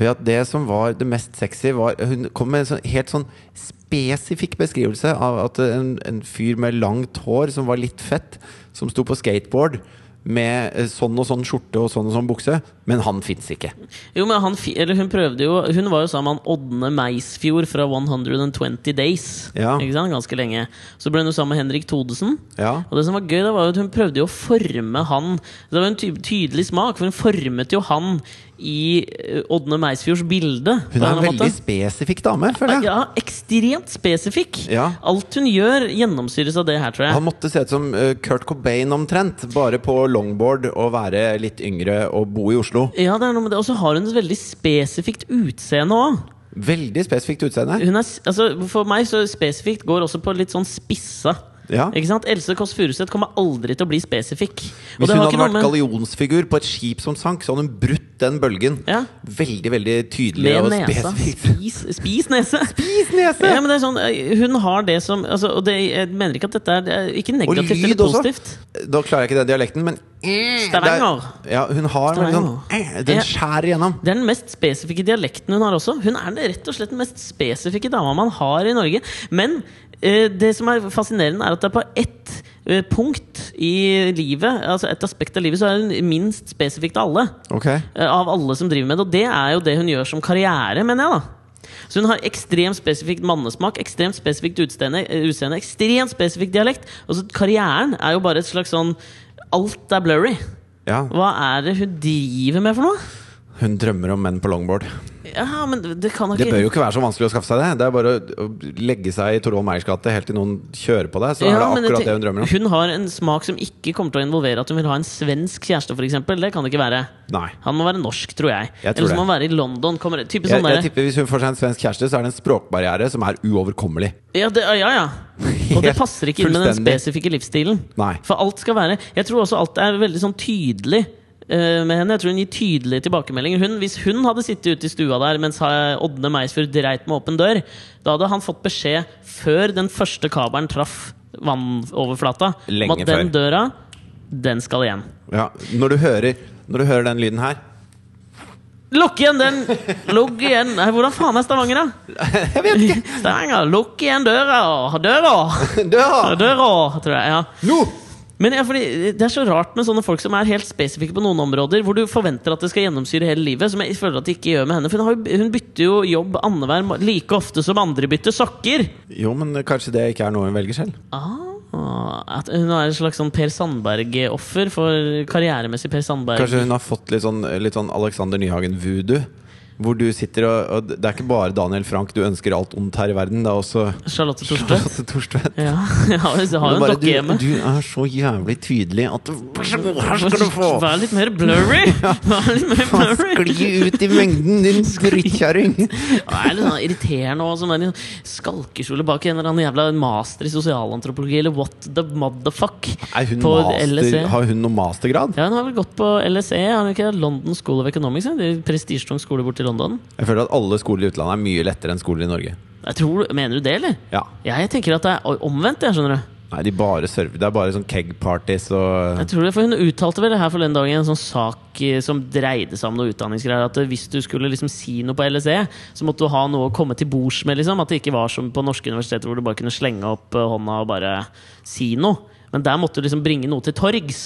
Speaker 2: Ved at det som var det mest sexy var Hun kom med en sånn, helt sånn spesifikk beskrivelse av at en, en fyr med langt hår som var litt fett, som sto på skateboard med eh, sånn og sånn skjorte og sånn og sånn bukse, men han fins ikke.
Speaker 1: Jo, men han, fi- eller hun prøvde jo Hun var jo sammen med han Ådne Meisfjord fra 120 Days.
Speaker 2: Ja.
Speaker 1: Ikke sant? Ganske lenge. Så ble hun jo sammen med Henrik Thodesen.
Speaker 2: Ja.
Speaker 1: Og det som var gøy, da var jo at hun prøvde jo å forme han Det var jo en ty tydelig smak, for hun formet jo han i eh, Ådne Meisfjords bilde. på
Speaker 2: Hun er en
Speaker 1: denne
Speaker 2: veldig
Speaker 1: måten.
Speaker 2: spesifikk dame, føler jeg.
Speaker 1: ja, ekstremt spesifikk.
Speaker 2: Ja.
Speaker 1: Alt hun gjør, gjennomsyres av det her, tror jeg.
Speaker 2: Han måtte se ut som eh, Kurt Cobain omtrent, bare på longboard og være litt yngre og bo i Oslo.
Speaker 1: Ja, det er noe med det. Og så har hun et veldig spesifikt utseende òg.
Speaker 2: Veldig spesifikt utseende.
Speaker 1: Hun er, s- altså, for meg så spesifikt går også på litt sånn spissa.
Speaker 2: Ja.
Speaker 1: Ikke sant? Else Kåss Furuseth kommer aldri til å bli spesifikk. Og det
Speaker 2: Hvis
Speaker 1: har
Speaker 2: hun hadde
Speaker 1: ikke noe
Speaker 2: vært
Speaker 1: med-
Speaker 2: gallionsfigur på et skip som sank, så hadde hun brutt den bølgen.
Speaker 1: Ja.
Speaker 2: Veldig, veldig tydelig
Speaker 1: Med
Speaker 2: og
Speaker 1: nesa.
Speaker 2: spesifikt.
Speaker 1: Spis, spis nese!
Speaker 2: Spis nese!
Speaker 1: Ja, men det er sånn, eh, hun har det som altså, Og det, jeg mener ikke at dette er det er ikke
Speaker 2: Og
Speaker 1: negativt eller
Speaker 2: lyd også.
Speaker 1: positivt.
Speaker 2: Da klarer jeg ikke den dialekten, men
Speaker 1: Stavanger.
Speaker 2: Det er- Ja, hun har en veldig
Speaker 1: Stavanger.
Speaker 2: sånn Den
Speaker 1: Ja.
Speaker 2: skjærer igjennom.
Speaker 1: Det er den mest spesifikke dialekten hun har også. Hun er den- rett og slett den mest spesifikke dama man har i Norge. Men eh, det som er fascinerende, er at det er på ett eh, punkt i livet, altså et aspekt av livet, så er hun minst spesifikk av alle.
Speaker 2: Ok
Speaker 1: Eh, Av alle som driver med det, og det er jo det hun gjør som karriere, mener jeg, da. Så hun har ekstremt spesifikt mannesmak, ekstremt spesifikt utseende, eh, utseende ekstremt spesifikk dialekt. Og så karrieren er jo bare et slags sånn Alt er blurry.
Speaker 2: Ja,
Speaker 1: Hva er det hun driver med for noe?
Speaker 2: Hun drømmer om menn på longboard.
Speaker 1: Ja, men det kan da
Speaker 2: Det
Speaker 1: ikke
Speaker 2: bør jo ikke være så vanskelig å skaffe seg det. Det er bare å å legge seg i Torvald Meyers gate helt til noen kjører på deg. Så
Speaker 1: Ja,
Speaker 2: er
Speaker 1: men
Speaker 2: det
Speaker 1: jeg
Speaker 2: akkurat det hun
Speaker 1: tenk-
Speaker 2: drømmer om.
Speaker 1: Hun har en smak som ikke kommer til å involvere at hun vil ha en svensk kjæreste, f.eks. Det kan det ikke være.
Speaker 2: Nei.
Speaker 1: Han må være norsk, tror jeg.
Speaker 2: Jeg tror
Speaker 1: Eller så må
Speaker 2: det.
Speaker 1: han være i London. Kommer, type
Speaker 2: Jeg,
Speaker 1: sånn
Speaker 2: jeg
Speaker 1: der.
Speaker 2: tipper Hvis hun får seg en svensk kjæreste, så er det en språkbarriere som er uoverkommelig.
Speaker 1: Ja, det, ja, ja. Og det
Speaker 2: Helt
Speaker 1: passer ikke inn med den
Speaker 2: fullstendig.
Speaker 1: spesifikke livsstilen.
Speaker 2: Nei.
Speaker 1: For alt skal være Jeg tror også alt er veldig sånn tydelig eh, med henne. Jeg tror hun gir tydelige tilbakemeldinger. Hun, hvis hun hadde sittet ute i stua der mens eh, Ådne Meisfjord dreit med åpen dør, da hadde han fått beskjed før den første kabelen traff vannoverflata, om
Speaker 2: Lenge
Speaker 1: at den
Speaker 2: før.
Speaker 1: døra, den skal igjen.
Speaker 2: Ja, når, du hører, når du hører den lyden her
Speaker 1: Lukk igjen den! Lukk igjen Nei, Hvordan faen er Stavanger, da?
Speaker 2: Jeg vet ikke!
Speaker 1: Stavanger, lukk igjen døra! Døra!
Speaker 2: Døra!
Speaker 1: Døra, tror jeg. ja
Speaker 2: Nå!
Speaker 1: Men ja, fordi Det er så rart med sånne folk som er helt spesifikke på noen områder, hvor du forventer at det skal gjennomsyre hele livet, som jeg føler at det ikke gjør med henne. For hun, har, jo- hun bytter jo jobb annenhver må- like ofte som andre bytter sokker.
Speaker 2: Jo, men kanskje det ikke er noe hun velger selv.
Speaker 1: Ah, at hun er et slags sånn Per Sandberg-offer for karrieremessig Per Sandberg.
Speaker 2: Kanskje hun har fått litt sånn, litt sånn Alexander Nyhagen-voodoo. Hvor du sitter og, og Det er ikke bare Daniel Frank du ønsker alt ondt her i verden. Det er også
Speaker 1: Charlotte Thorstvedt.
Speaker 2: Charlotte Thorstvedt.
Speaker 1: Ja, jeg har jo jeg har
Speaker 2: Det
Speaker 1: jo
Speaker 2: er
Speaker 1: en
Speaker 2: bare,
Speaker 1: dokke hjemme.
Speaker 2: du, du er så jævlig tydelig at du- Her skal du få!
Speaker 1: Vær litt mer blurry! Vær litt mer
Speaker 2: Faen,
Speaker 1: blurry.
Speaker 2: Skli ut i mengden, din drittkjerring!
Speaker 1: Det er litt sånn irriterende òg, som er i en skalkeskjole bak en eller annen jævla master i sosialantropologi, eller what the motherfuck,
Speaker 2: Er hun
Speaker 1: på E.
Speaker 2: master,
Speaker 1: LSE.
Speaker 2: har hun noe mastergrad?
Speaker 1: Ja, hun har vel gått på LSE, har hun ikke det? London School of Economics? ja? Det er en Prestisjetung skole borte i London.
Speaker 2: Jeg føler at alle skoler i utlandet er mye lettere enn skoler i Norge.
Speaker 1: Jeg tror, mener du det, eller?
Speaker 2: Ja.
Speaker 1: Ja, jeg tenker at det er omvendt, jeg, skjønner du.
Speaker 2: Nei, de bare server. Det er bare sånn keg-parties og
Speaker 1: Jeg tror det, for Hun uttalte vel det her forleden dag i en sånn sak eh, som dreide seg om noe utdanningsgreier. At eh, hvis du skulle liksom si noe på LSE, så måtte du ha noe å komme til bords med. liksom At det ikke var som på norske universiteter hvor du bare kunne slenge opp eh, hånda og bare si noe. Men der måtte du liksom bringe noe til torgs.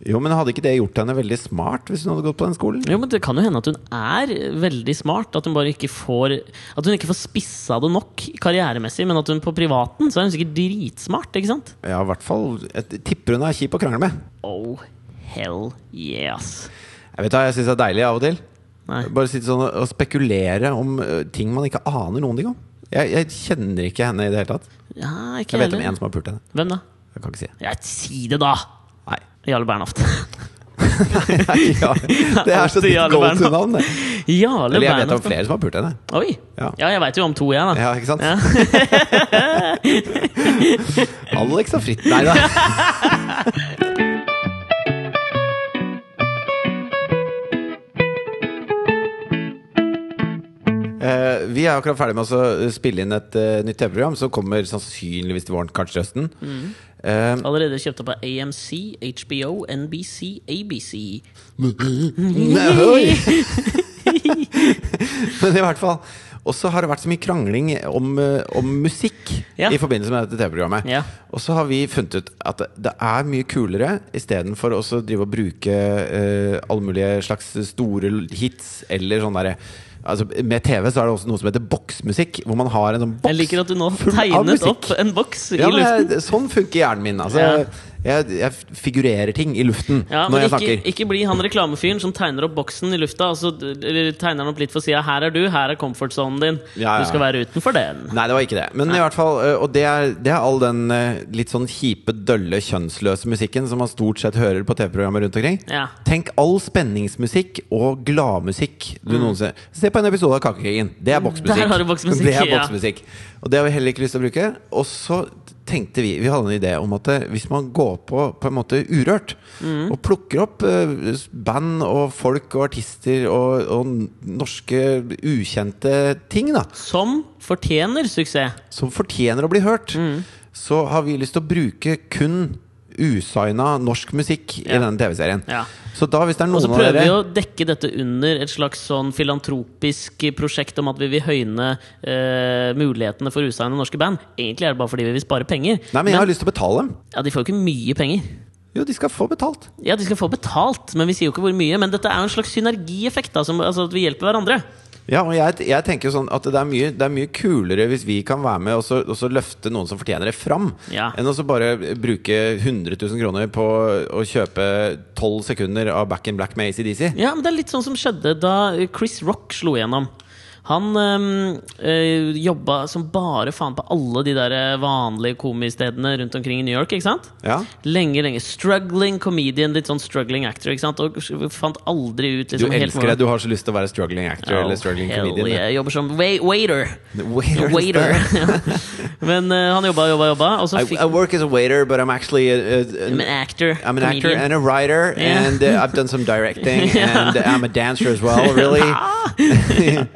Speaker 2: Jo, men hadde ikke det gjort henne veldig smart hvis hun hadde gått på den skolen?
Speaker 1: Jo, men Det kan jo hende at hun er veldig smart. At hun bare ikke får At hun ikke får spissa det nok karrieremessig, men at hun på privaten så er hun sikkert dritsmart. ikke sant?
Speaker 2: Ja, i hvert fall Jeg tipper hun er kjip å krangle med.
Speaker 1: Oh, hell yes.
Speaker 2: Jeg vet hva, jeg syns det er deilig av og til.
Speaker 1: Nei.
Speaker 2: Bare sitte sånn og spekulere om ø, ting man ikke aner noen ting om. Jeg, jeg kjenner ikke henne i det hele tatt.
Speaker 1: Ja, ikke
Speaker 2: Jeg vet om
Speaker 1: heller.
Speaker 2: én som har pult henne.
Speaker 1: Hvem da?
Speaker 2: Jeg kan ikke si det.
Speaker 1: Ja, si det, da!
Speaker 2: Nei.
Speaker 1: Jarle Bernhoft.
Speaker 2: Ja, det er så
Speaker 1: Alltid
Speaker 2: ditt
Speaker 1: Jarle
Speaker 2: go
Speaker 1: Bernhoft.
Speaker 2: to-navn, det.
Speaker 1: Jarle
Speaker 2: Eller jeg vet om
Speaker 1: Bernhoft.
Speaker 2: flere som har pult henne.
Speaker 1: Oi!
Speaker 2: Ja.
Speaker 1: Ja, jeg veit jo om to, jeg, da.
Speaker 2: Ja, ikke sant? Alex og Fritt Nei da. Eh, vi er eh, akkurat ferdig med å så spille inn et eh, nytt TV-program som kommer sannsynligvis til våren, kanskje til høsten. Eh,
Speaker 1: Allerede kjøpt opp av AMC, HBO, NBC, ABC.
Speaker 2: Nei, oi. Men i hvert fall. Og så har det vært så mye krangling om, eh, om musikk
Speaker 1: Ja.
Speaker 2: i forbindelse med dette TV-programmet.
Speaker 1: Ja.
Speaker 2: Og så har vi funnet ut at det- det er mye kulere istedenfor å så drive og bruke eh, alle mulige slags store l- hits eller sånn derre Altså, med TV så er det også noe som heter boksmusikk, hvor man har en sånn boks
Speaker 1: Jeg liker at du nå
Speaker 2: full av
Speaker 1: tegnet
Speaker 2: musikk.
Speaker 1: opp en boks
Speaker 2: Ja,
Speaker 1: i
Speaker 2: men
Speaker 1: luften.
Speaker 2: jeg, sånn funker hjernen min. Altså,
Speaker 1: Ja.
Speaker 2: jeg, jeg figurerer ting i luften
Speaker 1: Ja,
Speaker 2: når
Speaker 1: men
Speaker 2: jeg
Speaker 1: ikke,
Speaker 2: snakker.
Speaker 1: ikke bli han reklamefyren som tegner opp boksen i lufta, og så d- eller tegner han opp litt for sida. Her er du, her er comfortzonen din.
Speaker 2: Ja, ja,
Speaker 1: Du skal
Speaker 2: ja.
Speaker 1: være utenfor den.
Speaker 2: Nei, det var ikke det. Men i hvert fall, ø, og det er, det er all den ø, litt sånn kjipe, dølle, kjønnsløse musikken som man stort sett hører på TV-programmer rundt omkring.
Speaker 1: Ja.
Speaker 2: Tenk all spenningsmusikk og gladmusikk du noensinne Se på en episode av Kakekrigen. Det er boksmusikk.
Speaker 1: Mm. Der har du boksmusikk,
Speaker 2: Det er
Speaker 1: ja.
Speaker 2: boksmusikk. Og det har vi heller ikke lyst til å bruke. Og så tenkte vi Vi hadde en idé om at ø, hvis man går på på en måte urørt,
Speaker 1: Mm.
Speaker 2: og plukker opp ø, band og folk og artister og, og norske ukjente ting, da
Speaker 1: Som fortjener suksess.
Speaker 2: som fortjener å bli hørt,
Speaker 1: Mm.
Speaker 2: så har vi lyst til å bruke kun usigna norsk musikk i
Speaker 1: Ja.
Speaker 2: denne TV-serien.
Speaker 1: Ja.
Speaker 2: Så da, hvis det er
Speaker 1: Og så
Speaker 2: noen av
Speaker 1: prøver
Speaker 2: dere
Speaker 1: vi å dekke dette under et slags sånn filantropisk prosjekt om at vi vil høyne eh, mulighetene for usignede norske band. Egentlig er det bare fordi vi vil spare penger.
Speaker 2: Nei, men jeg har lyst til å betale dem.
Speaker 1: ja, de får jo ikke mye penger.
Speaker 2: Jo, de skal få betalt.
Speaker 1: Ja, de skal få betalt, men vi sier jo ikke hvor mye. Men dette er jo en slags synergieffekt, da, som, altså at vi hjelper hverandre.
Speaker 2: Ja, og jeg, jeg tenker jo sånn at det er, mye, det er mye kulere hvis vi kan være med og så, og så løfte noen som fortjener det, fram,
Speaker 1: Ja.
Speaker 2: enn å så bare bruke 100 000 kroner på å kjøpe 12 sekunder av Back in Black med ACDC.
Speaker 1: Ja, men det er litt sånn som skjedde da Chris Rock slo igjennom. Han øhm, øh, jobba som bare faen på alle de der eh, vanlige komistedene rundt omkring i New York. ikke sant?
Speaker 2: Ja.
Speaker 1: Lenge, lenge. Struggling comedian, litt sånn struggling actor. ikke sant? Og fant aldri ut
Speaker 2: Du
Speaker 1: liksom, helt
Speaker 2: elsker det, du har så lyst til å være struggling actor eller struggling comedian.
Speaker 1: Yeah. Jeg jobber som wai- waiter.
Speaker 2: Waiter is
Speaker 1: Waiter. men øh, han jobba, jobba, jobba, og så
Speaker 2: I,
Speaker 1: fikk
Speaker 2: I work as a waiter, but I'm actually a, a,
Speaker 1: I'm an actor.
Speaker 2: I'm an actor
Speaker 1: comedian.
Speaker 2: and a writer,
Speaker 1: Yeah.
Speaker 2: and uh, I've done some directing, and I'm a dancer as well. Really?
Speaker 1: Ah!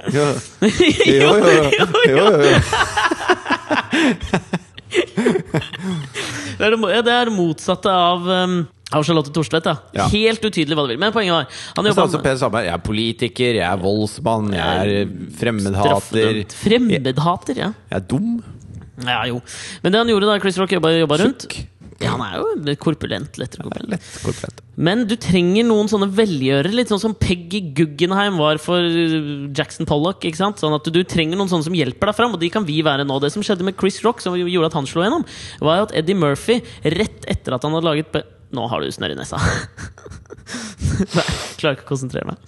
Speaker 2: jo, jo, jo, jo, jo, jo.
Speaker 1: Det er det, mo- ja, det er det motsatte av, um, av Charlotte Thorstvedt. da.
Speaker 2: Ja.
Speaker 1: Helt utydelig hva du vil. Men poenget var han
Speaker 2: Sånn
Speaker 1: jobba
Speaker 2: som Per Sandberg. Jeg er politiker, jeg er voldsmann, jeg er eh, fremmedhater.
Speaker 1: straffedømt. Fremmedhater, ja.
Speaker 2: Jeg er dum.
Speaker 1: ja. Jo. Men det han gjorde da Chris Rock jobba, jobba rundt
Speaker 2: Tjukk.
Speaker 1: ja, Han er jo litt korpulent. Lettere korpulent.
Speaker 2: Lett korpulent.
Speaker 1: Men du trenger noen sånne velgjørere, litt sånn som Peggy Guggenheim var for uh, Jackson Pollock. ikke sant? Sånn at du trenger noen sånne som hjelper deg fram, og de kan vi være nå. Det som skjedde med Chris Rock, som gjorde at han slo gjennom, var jo at Eddie Murphy, rett etter at han hadde laget pe- Nå har du snørr i nesa. Nei, jeg klarer ikke å konsentrere meg.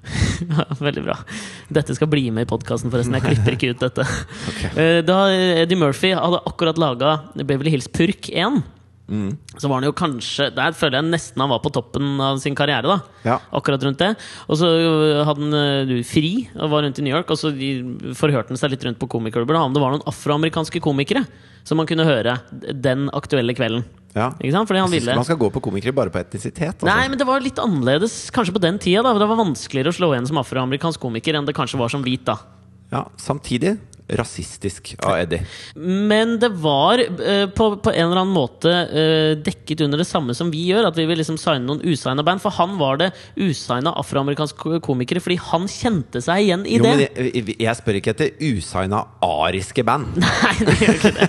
Speaker 1: Ja, Veldig bra. Dette skal bli med i podkasten, forresten. Jeg klipper ikke ut dette. Eh, Da Eddie Murphy hadde akkurat laga Beverly Hills Purk 1,
Speaker 2: Mm.
Speaker 1: så var han jo kanskje Der føler jeg nesten han var på toppen av sin karriere. da
Speaker 2: Ja.
Speaker 1: Akkurat rundt det Og så ø, hadde han ø, du, fri og var rundt i New York, og så de- forhørte han seg litt rundt på komikerklubber da, om det var noen afroamerikanske komikere som man kunne høre d- den aktuelle kvelden.
Speaker 2: Ja.
Speaker 1: Ikke sant? Fordi han
Speaker 2: Jeg synes
Speaker 1: ville
Speaker 2: ikke Man skal gå på komikere bare på etnisitet. Altså.
Speaker 1: Nei, men det var litt annerledes kanskje på den tida. da for Det var vanskeligere å slå igjen som afroamerikansk komiker enn det kanskje var som hvit. da
Speaker 2: Ja, samtidig rasistisk av Eddie.
Speaker 1: Men det var eh, på, på en eller annen måte eh, dekket under det samme som vi gjør, at vi vil liksom signe noen usigna band. For han var det usigna afroamerikanske ko- komikere, fordi han kjente seg igjen i
Speaker 2: Jo,
Speaker 1: det.
Speaker 2: men jeg, jeg spør ikke etter usigna ariske band.
Speaker 1: Nei, det gjør ikke det.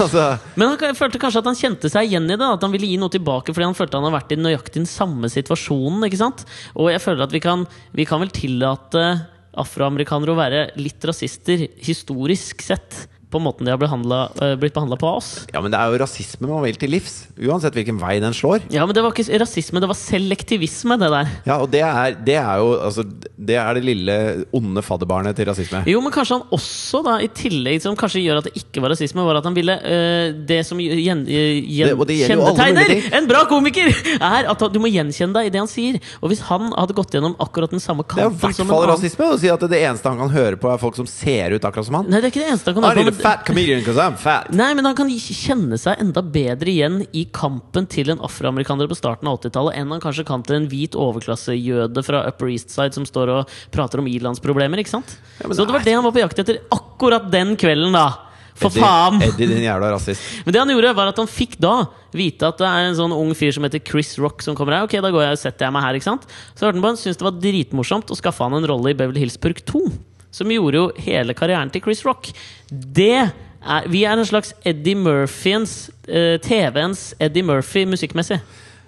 Speaker 2: altså
Speaker 1: Men han k- følte kanskje at han kjente seg igjen i det. At han ville gi noe tilbake fordi han følte han har vært i nøyaktig den samme situasjonen. ikke sant? Og jeg føler at vi kan, vi kan vel tillate afroamerikanere å være litt rasister historisk sett. På måten de har behandla- eh, blitt behandla på av oss.
Speaker 2: Ja, men det er jo rasisme man vil til livs. Uansett hvilken vei den slår.
Speaker 1: Ja, men det var ikke s- rasisme, det var selektivisme, det der.
Speaker 2: Ja, og det er, det er jo altså, Det er det lille onde fadderbarnet til rasisme.
Speaker 1: Jo, men kanskje han også, da, i tillegg som kanskje gjør at det ikke var rasisme, var at han ville øh, Det som gjen, øh, gjen,
Speaker 2: Det- og det gjelder jo alle
Speaker 1: kjennetegner
Speaker 2: mulige ting.
Speaker 1: en bra komiker, er at han- du må gjenkjenne deg i det han sier. Og hvis han hadde gått gjennom akkurat den samme
Speaker 2: Det er jo
Speaker 1: kanten
Speaker 2: i hvert
Speaker 1: som en
Speaker 2: fall
Speaker 1: annen-
Speaker 2: rasisme å si at det eneste han kan høre på, er folk som ser ut akkurat som han.
Speaker 1: Nei, det er ikke det eneste han kan
Speaker 2: I
Speaker 1: høre
Speaker 2: need
Speaker 1: på.
Speaker 2: a
Speaker 1: Men,
Speaker 2: fat comedian 'cause I'm fat.
Speaker 1: nei, men han kan kjenne seg enda bedre igjen i kampen til en afroamerikaner på starten av 80-tallet enn han kanskje kan til en hvit overklassejøde fra Upper East Side som står og prater om ilandsproblemer, ikke sant?
Speaker 2: Ja, men
Speaker 1: Så det var
Speaker 2: nei.
Speaker 1: det han var på jakt etter akkurat den kvelden, da. For faen!
Speaker 2: Eddie, din jævla rasist.
Speaker 1: Men det han gjorde, var at han fikk da vite at det er en sånn ung fyr som heter Chris Rock som kommer her. Ok, da går jeg og setter jeg meg her, ikke sant? Så hørte han på han, syntes det var dritmorsomt, og skaffa han en rolle i Beverly Hillsburg 2. Som gjorde jo hele karrieren til Chris Rock. Det er, vi er en slags Eddie Murphyens eh, TV-ens Eddie Murphy musikkmessig.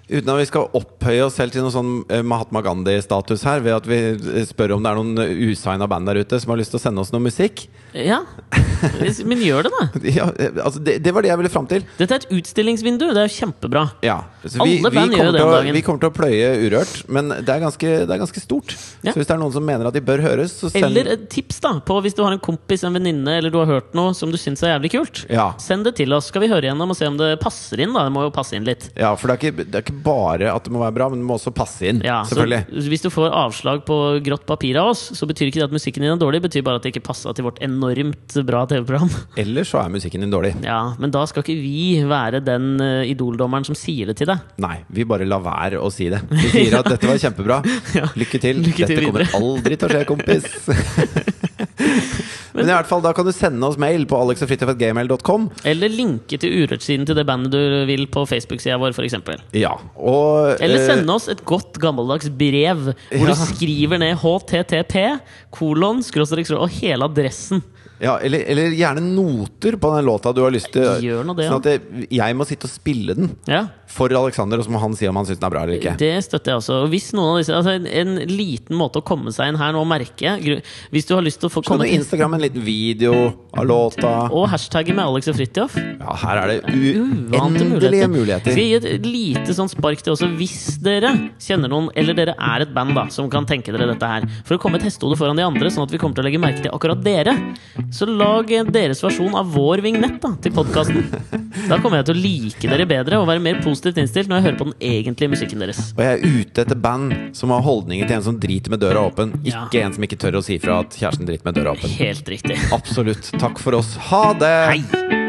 Speaker 2: Uten at vi skal opphøye oss selv til noe sånn eh, Mahatma Gandhi-status her, ved at vi eh, spør om det er noen usigna band der ute som har lyst til å sende oss noe musikk.
Speaker 1: Ja, men gjør det, da!
Speaker 2: Ja, eh, altså, det, det var det jeg ville fram til.
Speaker 1: Dette er et utstillingsvindu. Det er jo kjempebra.
Speaker 2: Ja, så
Speaker 1: Alle band gjør jo
Speaker 2: kommer
Speaker 1: det
Speaker 2: til
Speaker 1: om
Speaker 2: å-
Speaker 1: dagen.
Speaker 2: Vi kommer til å pløye urørt, men det er ganske, det er ganske stort.
Speaker 1: Ja.
Speaker 2: Så hvis det er noen som mener at de bør høres, så send
Speaker 1: Eller et tips da på hvis du har en kompis, en venninne eller du har hørt noe som du syns er jævlig kult.
Speaker 2: Ja.
Speaker 1: Send det til oss, skal vi høre gjennom og se om det passer inn. da Det må jo passe inn litt.
Speaker 2: Ja, for det er, ikke, det er ikke bare at det må være bra, men det må også passe inn.
Speaker 1: Ja, så
Speaker 2: selvfølgelig.
Speaker 1: hvis du får avslag på grått papir av oss, så betyr ikke det at musikken din er dårlig, det betyr bare at det ikke passa til vårt enormt bra TV-program.
Speaker 2: Ellers så er musikken din dårlig.
Speaker 1: Ja, Men da skal ikke vi være den eh, idoldommeren som sier det til deg.
Speaker 2: Nei, vi bare lar være å si det. Vi sier at dette var kjempebra. Lykke til.
Speaker 1: Lykke til
Speaker 2: dette kommer
Speaker 1: videre.
Speaker 2: aldri til å skje, kompis. men i hvert fall, da kan du sende oss mail på alexogfritjofatgmail.com.
Speaker 1: Eller linke til urørtsiden til det bandet du vil på Facebook-sida vår, f.eks.
Speaker 2: Ja, og
Speaker 1: Eller
Speaker 2: eh,
Speaker 1: sende oss et godt gammeldags brev hvor
Speaker 2: Ja.
Speaker 1: du skriver ned HTTP, kolon, skråstrek, skråstrek, og hele adressen.
Speaker 2: Ja, eller, eller gjerne noter på den låta du har lyst til.
Speaker 1: Gjør nå det,
Speaker 2: sånn at det, jeg må sitte og spille den
Speaker 1: Ja,
Speaker 2: for Alexander, og så må han si om han syns den er bra eller ikke.
Speaker 1: Det støtter jeg også. Og Hvis noen av disse altså en, en liten måte å komme seg inn her nå, merke gru- Hvis du har lyst til å få
Speaker 2: Kan du
Speaker 1: komme til
Speaker 2: Instagram en liten video av låta?
Speaker 1: og hashtagge med Alex og Fridtjof.
Speaker 2: Ja, her er det
Speaker 1: Uvante
Speaker 2: uendelige muligheter.
Speaker 1: Skal jeg gi et- et lite sånn spark til også, hvis dere kjenner noen, eller dere er et band da, som kan tenke dere dette her, for å komme et hestehode foran de andre, sånn at vi kommer til å legge merke til akkurat dere, så lag eh, deres versjon av vår vignett da, til podkasten. Da kommer jeg til å like dere bedre og være mer positivt innstilt når jeg hører på den egentlige musikken deres.
Speaker 2: Og jeg er ute etter band som har holdninger til en som driter med døra åpen,
Speaker 1: Ja.
Speaker 2: ikke en som ikke tør å si fra at kjæresten driter med døra åpen.
Speaker 1: Helt riktig.
Speaker 2: Absolutt. Takk for oss. Ha det!
Speaker 1: Hei!